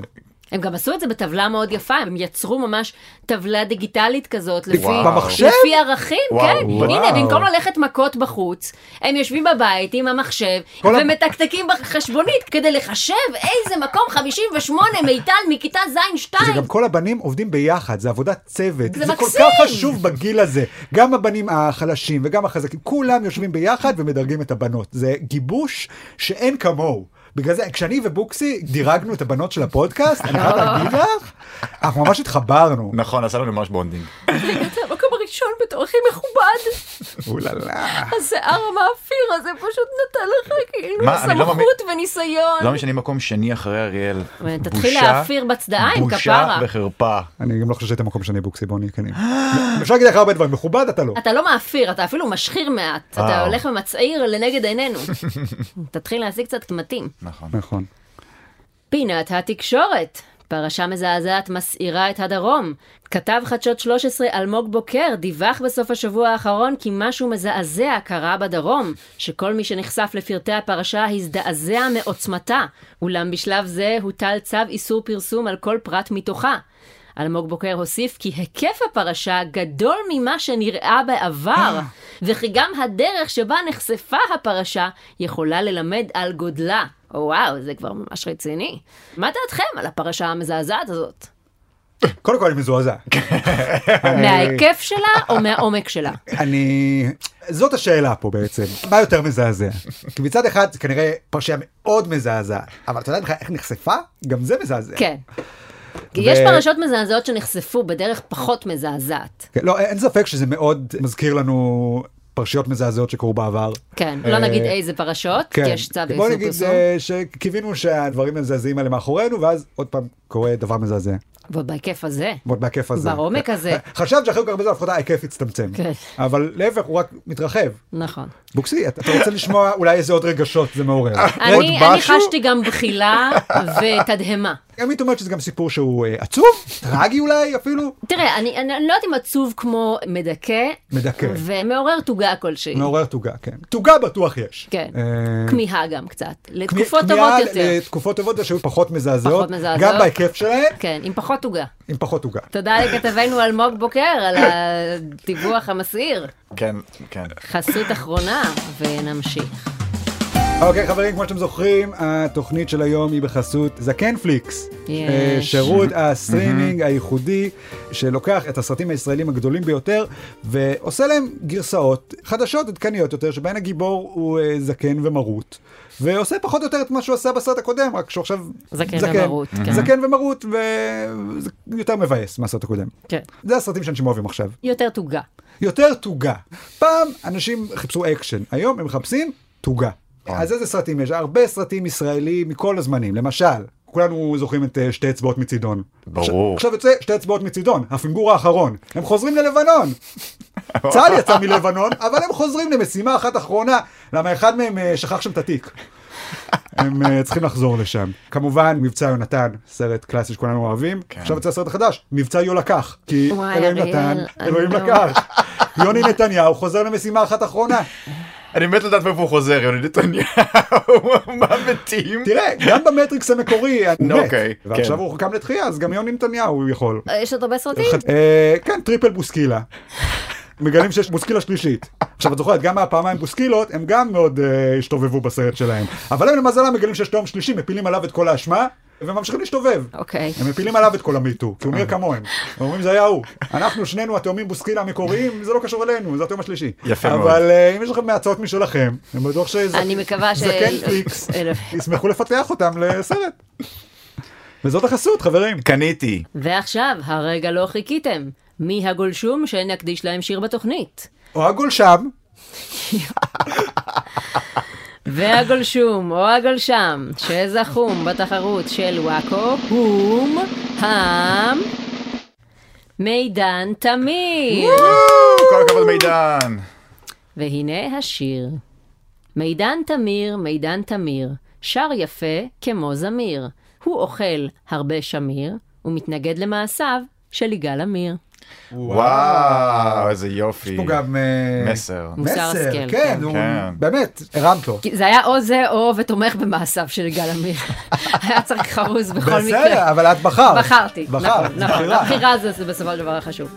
[SPEAKER 2] הם גם עשו את זה בטבלה מאוד יפה, הם יצרו ממש טבלה דיגיטלית כזאת, לפי...
[SPEAKER 3] וואו.
[SPEAKER 1] במחשב?
[SPEAKER 2] לפי ערכים,
[SPEAKER 3] וואו,
[SPEAKER 2] כן.
[SPEAKER 3] וואו.
[SPEAKER 2] הנה, במקום ללכת מכות בחוץ, הם יושבים בבית עם המחשב,
[SPEAKER 1] כל ה-
[SPEAKER 2] ומתקתקים בחשבונית כדי לחשב איזה מקום 58 מיטל מכיתה ז'-2.
[SPEAKER 1] זה גם כל הבנים עובדים ביחד, זה עבודת צוות.
[SPEAKER 2] אה. זה
[SPEAKER 1] כל
[SPEAKER 2] מקסים!
[SPEAKER 1] כך חשוב בגיל הזה. גם הבנים החלשים וגם החזקים, כולם יושבים ביחד ומדרגים את הבנות. זה גיבוש שאין כמוהו. בגלל זה, כשאני ובוקסי דירגנו את הבנות של הפודקאסט, אני חייב להגיד לך, אנחנו ממש התחברנו.
[SPEAKER 3] נכון, עשה לנו ממש בונדינג.
[SPEAKER 2] זה המקום הראשון. לישון בתור הכי מכובד.
[SPEAKER 1] אוללה.
[SPEAKER 2] השיער המאפיר הזה פשוט נתן לך כאילו
[SPEAKER 3] מה, אני לא
[SPEAKER 2] סמכות וניסיון.
[SPEAKER 3] לא משנה מקום שני אחרי אריאל.
[SPEAKER 2] אה, תתחיל
[SPEAKER 3] בושה-
[SPEAKER 2] להעפיר בצדעיים, כפרה.
[SPEAKER 3] בושה וחרפה.
[SPEAKER 1] אני גם לא חושב שהיית מקום שני בוקסי, בוא נהיה כנים. אפשר להגיד לך הרבה דברים, מכובד אתה לא.
[SPEAKER 2] אתה לא מאפיר, אתה אפילו משחיר מעט. אתה
[SPEAKER 3] וואו.
[SPEAKER 2] הולך ומצעיר לנגד
[SPEAKER 3] [LAUGHS]
[SPEAKER 2] עינינו. תתחיל להשיג קצת קמטים.
[SPEAKER 3] נכון.
[SPEAKER 1] נכון.
[SPEAKER 2] פינת התקשורת. פרשה מזעזעת מסעירה את הדרום. כתב חדשות 13 אלמוג בוקר דיווח בסוף השבוע האחרון כי משהו מזעזע קרה בדרום, שכל מי שנחשף לפרטי הפרשה הזדעזע מעוצמתה, אולם בשלב זה הוטל צו איסור פרסום על כל פרט מתוכה. אלמוג בוקר הוסיף כי היקף הפרשה גדול ממה שנראה
[SPEAKER 1] אה.
[SPEAKER 2] בעבר, וכי גם הדרך שבה נחשפה הפרשה יכולה ללמד על גודלה. וואו, זה כבר ממש רציני. מה דעתכם על הפרשה המזעזעת הזאת?
[SPEAKER 1] קודם כל אני מזועזע. אה.
[SPEAKER 2] מההיקף שלה או מהעומק
[SPEAKER 1] [LAUGHS]
[SPEAKER 2] שלה?
[SPEAKER 1] אני... זאת השאלה פה בעצם, מה יותר מזעזע? כי מצד אחד זה כנראה פרשייה מאוד מזעזעת, אבל אתה יודע בכלל איך נחשפה? גם זה מזעזע.
[SPEAKER 2] כן. כי יש פרשות מזעזעות שנחשפו בדרך פחות מזעזעת.
[SPEAKER 1] כן, לא, אין ספק שזה מאוד מזכיר לנו פרשיות מזעזעות שקרו בעבר. כן.
[SPEAKER 2] כן, לא נגיד איזה פרשות, כי יש צו
[SPEAKER 1] אה. בוא
[SPEAKER 2] איסור
[SPEAKER 1] נגיד
[SPEAKER 2] פרסום.
[SPEAKER 1] אה, שקיווינו שהדברים המזעזעים האלה מאחורינו, ואז עוד פעם קורה דבר מזעזע.
[SPEAKER 2] ובהיקף הזה.
[SPEAKER 1] מאוד בהיקף הזה. [LAUGHS]
[SPEAKER 2] בעומק הזה.
[SPEAKER 1] חשבת שאחרי כל כך הרבה זמן לפחות ההיקף יצטמצם.
[SPEAKER 2] כן.
[SPEAKER 1] אבל להפך, הוא רק מתרחב.
[SPEAKER 2] נכון.
[SPEAKER 1] בוקסי, אתה אתה רוצה לשמוע אולי איזה עוד רגשות זה מעורר. עוד
[SPEAKER 2] אה, אני, אני
[SPEAKER 1] משהו?
[SPEAKER 2] חשתי גם
[SPEAKER 1] [LAUGHS]
[SPEAKER 2] בחילה ותדהמה.
[SPEAKER 1] ימית אומרת שזה גם סיפור שהוא אה, עצוב, טרגי אולי אפילו,
[SPEAKER 2] תראה, אני, אני, אני לא יודעת אם עצוב כמו מדכא,
[SPEAKER 1] מדכא.
[SPEAKER 2] ומעורר תוגה כלשהי.
[SPEAKER 1] מעורר תוגה, כן. תוגה בטוח יש.
[SPEAKER 2] כן.
[SPEAKER 1] אה,
[SPEAKER 2] כמיהה גם קצת.
[SPEAKER 1] כמי-
[SPEAKER 2] לתקופות
[SPEAKER 1] כמיהה
[SPEAKER 2] טובות יותר.
[SPEAKER 1] לתקופות טובות שהיו פחות מזעזעות,
[SPEAKER 2] פחות מזעזעות.
[SPEAKER 1] גם בהיקף שלהן,
[SPEAKER 2] כן, עם פחות תוגה.
[SPEAKER 1] עם פחות תוגה.
[SPEAKER 2] תודה לכתבנו [LAUGHS] אלמוג בוקר על הדיווח המסעיר.
[SPEAKER 3] כן, כן.
[SPEAKER 2] חסות אחרונה, ונמשיך.
[SPEAKER 1] אוקיי חברים, כמו שאתם זוכרים, התוכנית של היום היא בחסות זקנפליקס.
[SPEAKER 2] יש.
[SPEAKER 1] אה, שירות הסטרימינג הייחודי שלוקח את הסרטים הישראלים הגדולים ביותר ועושה להם גרסאות חדשות, עדכניות יותר, שבהן הגיבור הוא אה, זקן ומרוט. ועושה פחות או יותר את מה שהוא עשה בסרט הקודם, רק שהוא עכשיו
[SPEAKER 2] זקן ומרוט, כן.
[SPEAKER 1] זקן ומרוט, וזה יותר מבאס מהסרט הקודם.
[SPEAKER 2] כן.
[SPEAKER 1] זה הסרטים שאנשים אוהבים עכשיו.
[SPEAKER 2] יותר תוגה.
[SPEAKER 1] יותר תוגה. פעם אנשים חיפשו אקשן, היום הם מחפשים תוגה. אז איזה סרטים יש? הרבה סרטים ישראלים מכל הזמנים, למשל. כולנו זוכרים את אה, שתי אצבעות מצידון.
[SPEAKER 3] ברור.
[SPEAKER 1] עכשיו יוצא שתי אצבעות מצידון, הפינגור האחרון. הם חוזרים ללבנון.
[SPEAKER 3] [LAUGHS]
[SPEAKER 1] צה"ל יצא מלבנון, אבל הם חוזרים למשימה אחת אחרונה, למה אחד מהם אה, שכח שם את
[SPEAKER 3] [LAUGHS]
[SPEAKER 1] התיק. הם אה, צריכים לחזור לשם. כמובן, מבצע יונתן, סרט קלאסי שכולנו אוהבים.
[SPEAKER 3] כן.
[SPEAKER 1] עכשיו יצא הסרט החדש, מבצע יו לקח. כי
[SPEAKER 2] וואי,
[SPEAKER 1] אלוהים
[SPEAKER 2] אריאל,
[SPEAKER 1] נתן,
[SPEAKER 2] אני
[SPEAKER 1] אלוהים
[SPEAKER 2] לא-
[SPEAKER 1] לקח. יוני נתניהו חוזר למשימה אחת אחרונה.
[SPEAKER 3] אני מת לדעת מאיפה הוא חוזר, יוני [LAUGHS] נתניהו, מה מתים?
[SPEAKER 1] תראה, גם במטריקס המקורי, הוא מת.
[SPEAKER 3] [LAUGHS] אוקיי, כן.
[SPEAKER 1] ועכשיו הוא הורחם לתחייה, אז גם יוני נתניהו הוא יכול.
[SPEAKER 2] אה, יש עוד הרבה סרטים?
[SPEAKER 1] אה, כן, טריפל בוסקילה. מגלים שיש בוסקילה שלישית. עכשיו את זוכרת, גם הפעמיים בוסקילות, הם גם מאוד אה, השתובבו בסרט שלהם. אבל הם למזלם מגלים שיש תאום שלישי, מפילים עליו את כל האשמה, וממשיכים להשתובב.
[SPEAKER 2] אוקיי.
[SPEAKER 1] הם מפילים עליו את כל המיטו, כי הוא
[SPEAKER 3] אה.
[SPEAKER 1] נראה כמוהם. הם אומרים זה היה הוא. אנחנו שנינו התאומים בוסקילה המקוריים, זה לא קשור אלינו, זה התאום השלישי.
[SPEAKER 3] יפה מאוד.
[SPEAKER 1] אבל אה, אם יש לכם הצעות משלכם, אני בטוח שזה...
[SPEAKER 2] אני מקווה ש-
[SPEAKER 1] זקן
[SPEAKER 2] [LAUGHS]
[SPEAKER 1] פליקס,
[SPEAKER 2] אלו-
[SPEAKER 1] ישמחו לפתח אותם לסרט. וזאת החסות, חברים.
[SPEAKER 3] קניתי.
[SPEAKER 2] ועכשיו, הרגע לא חיכיתם. מי הגולשום שנקדיש להם שיר בתוכנית?
[SPEAKER 1] או הגולשם,
[SPEAKER 2] והגולשום או הגולשם שזכום בתחרות של וואקו הום העם מידן תמיר.
[SPEAKER 3] כל הכבוד מידן.
[SPEAKER 2] והנה השיר. מידן תמיר, מידן תמיר, שר יפה כמו זמיר. הוא אוכל הרבה שמיר, ומתנגד למעשיו של יגאל עמיר.
[SPEAKER 3] וואו, איזה יופי.
[SPEAKER 1] הוא גם... אה,
[SPEAKER 3] מסר.
[SPEAKER 2] מוסר
[SPEAKER 1] מסר,
[SPEAKER 2] השכל,
[SPEAKER 1] כן,
[SPEAKER 2] כן.
[SPEAKER 1] הוא
[SPEAKER 3] כן.
[SPEAKER 1] באמת, הרמת לו.
[SPEAKER 2] כי זה היה או זה או ותומך במעשיו של יגאל עמיר. [LAUGHS] היה צריך חרוז בכל מקרה.
[SPEAKER 1] בסדר, אבל את בחרת.
[SPEAKER 2] בחרתי,
[SPEAKER 1] בחרת,
[SPEAKER 2] נכון, נכון,
[SPEAKER 1] בחירה.
[SPEAKER 2] הבחירה זה, זה בסופו של דבר החשוב. [CLEARS THROAT]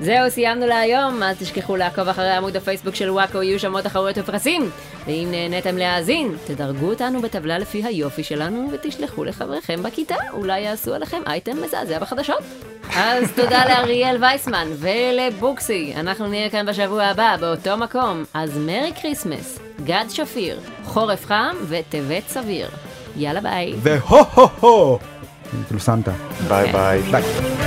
[SPEAKER 2] זהו, סיימנו להיום, אל תשכחו לעקוב אחרי עמוד הפייסבוק של וואקו, יהיו שם עוד תחרויות ופרסים. ואם נהניתם להאזין, תדרגו אותנו בטבלה לפי היופי שלנו, ותשלחו לחבריכם בכיתה, אולי יעשו עליכם אייטם מזעזע בחדשות. אז תודה לאריאל וייסמן ולבוקסי, אנחנו נהיה כאן בשבוע הבא, באותו מקום. אז מרי כריסמס, גד שפיר, חורף חם וטבת סביר. יאללה ביי.
[SPEAKER 1] והו הו הו. כאילו סנטה.
[SPEAKER 3] ביי ביי.
[SPEAKER 2] כן.
[SPEAKER 1] ביי.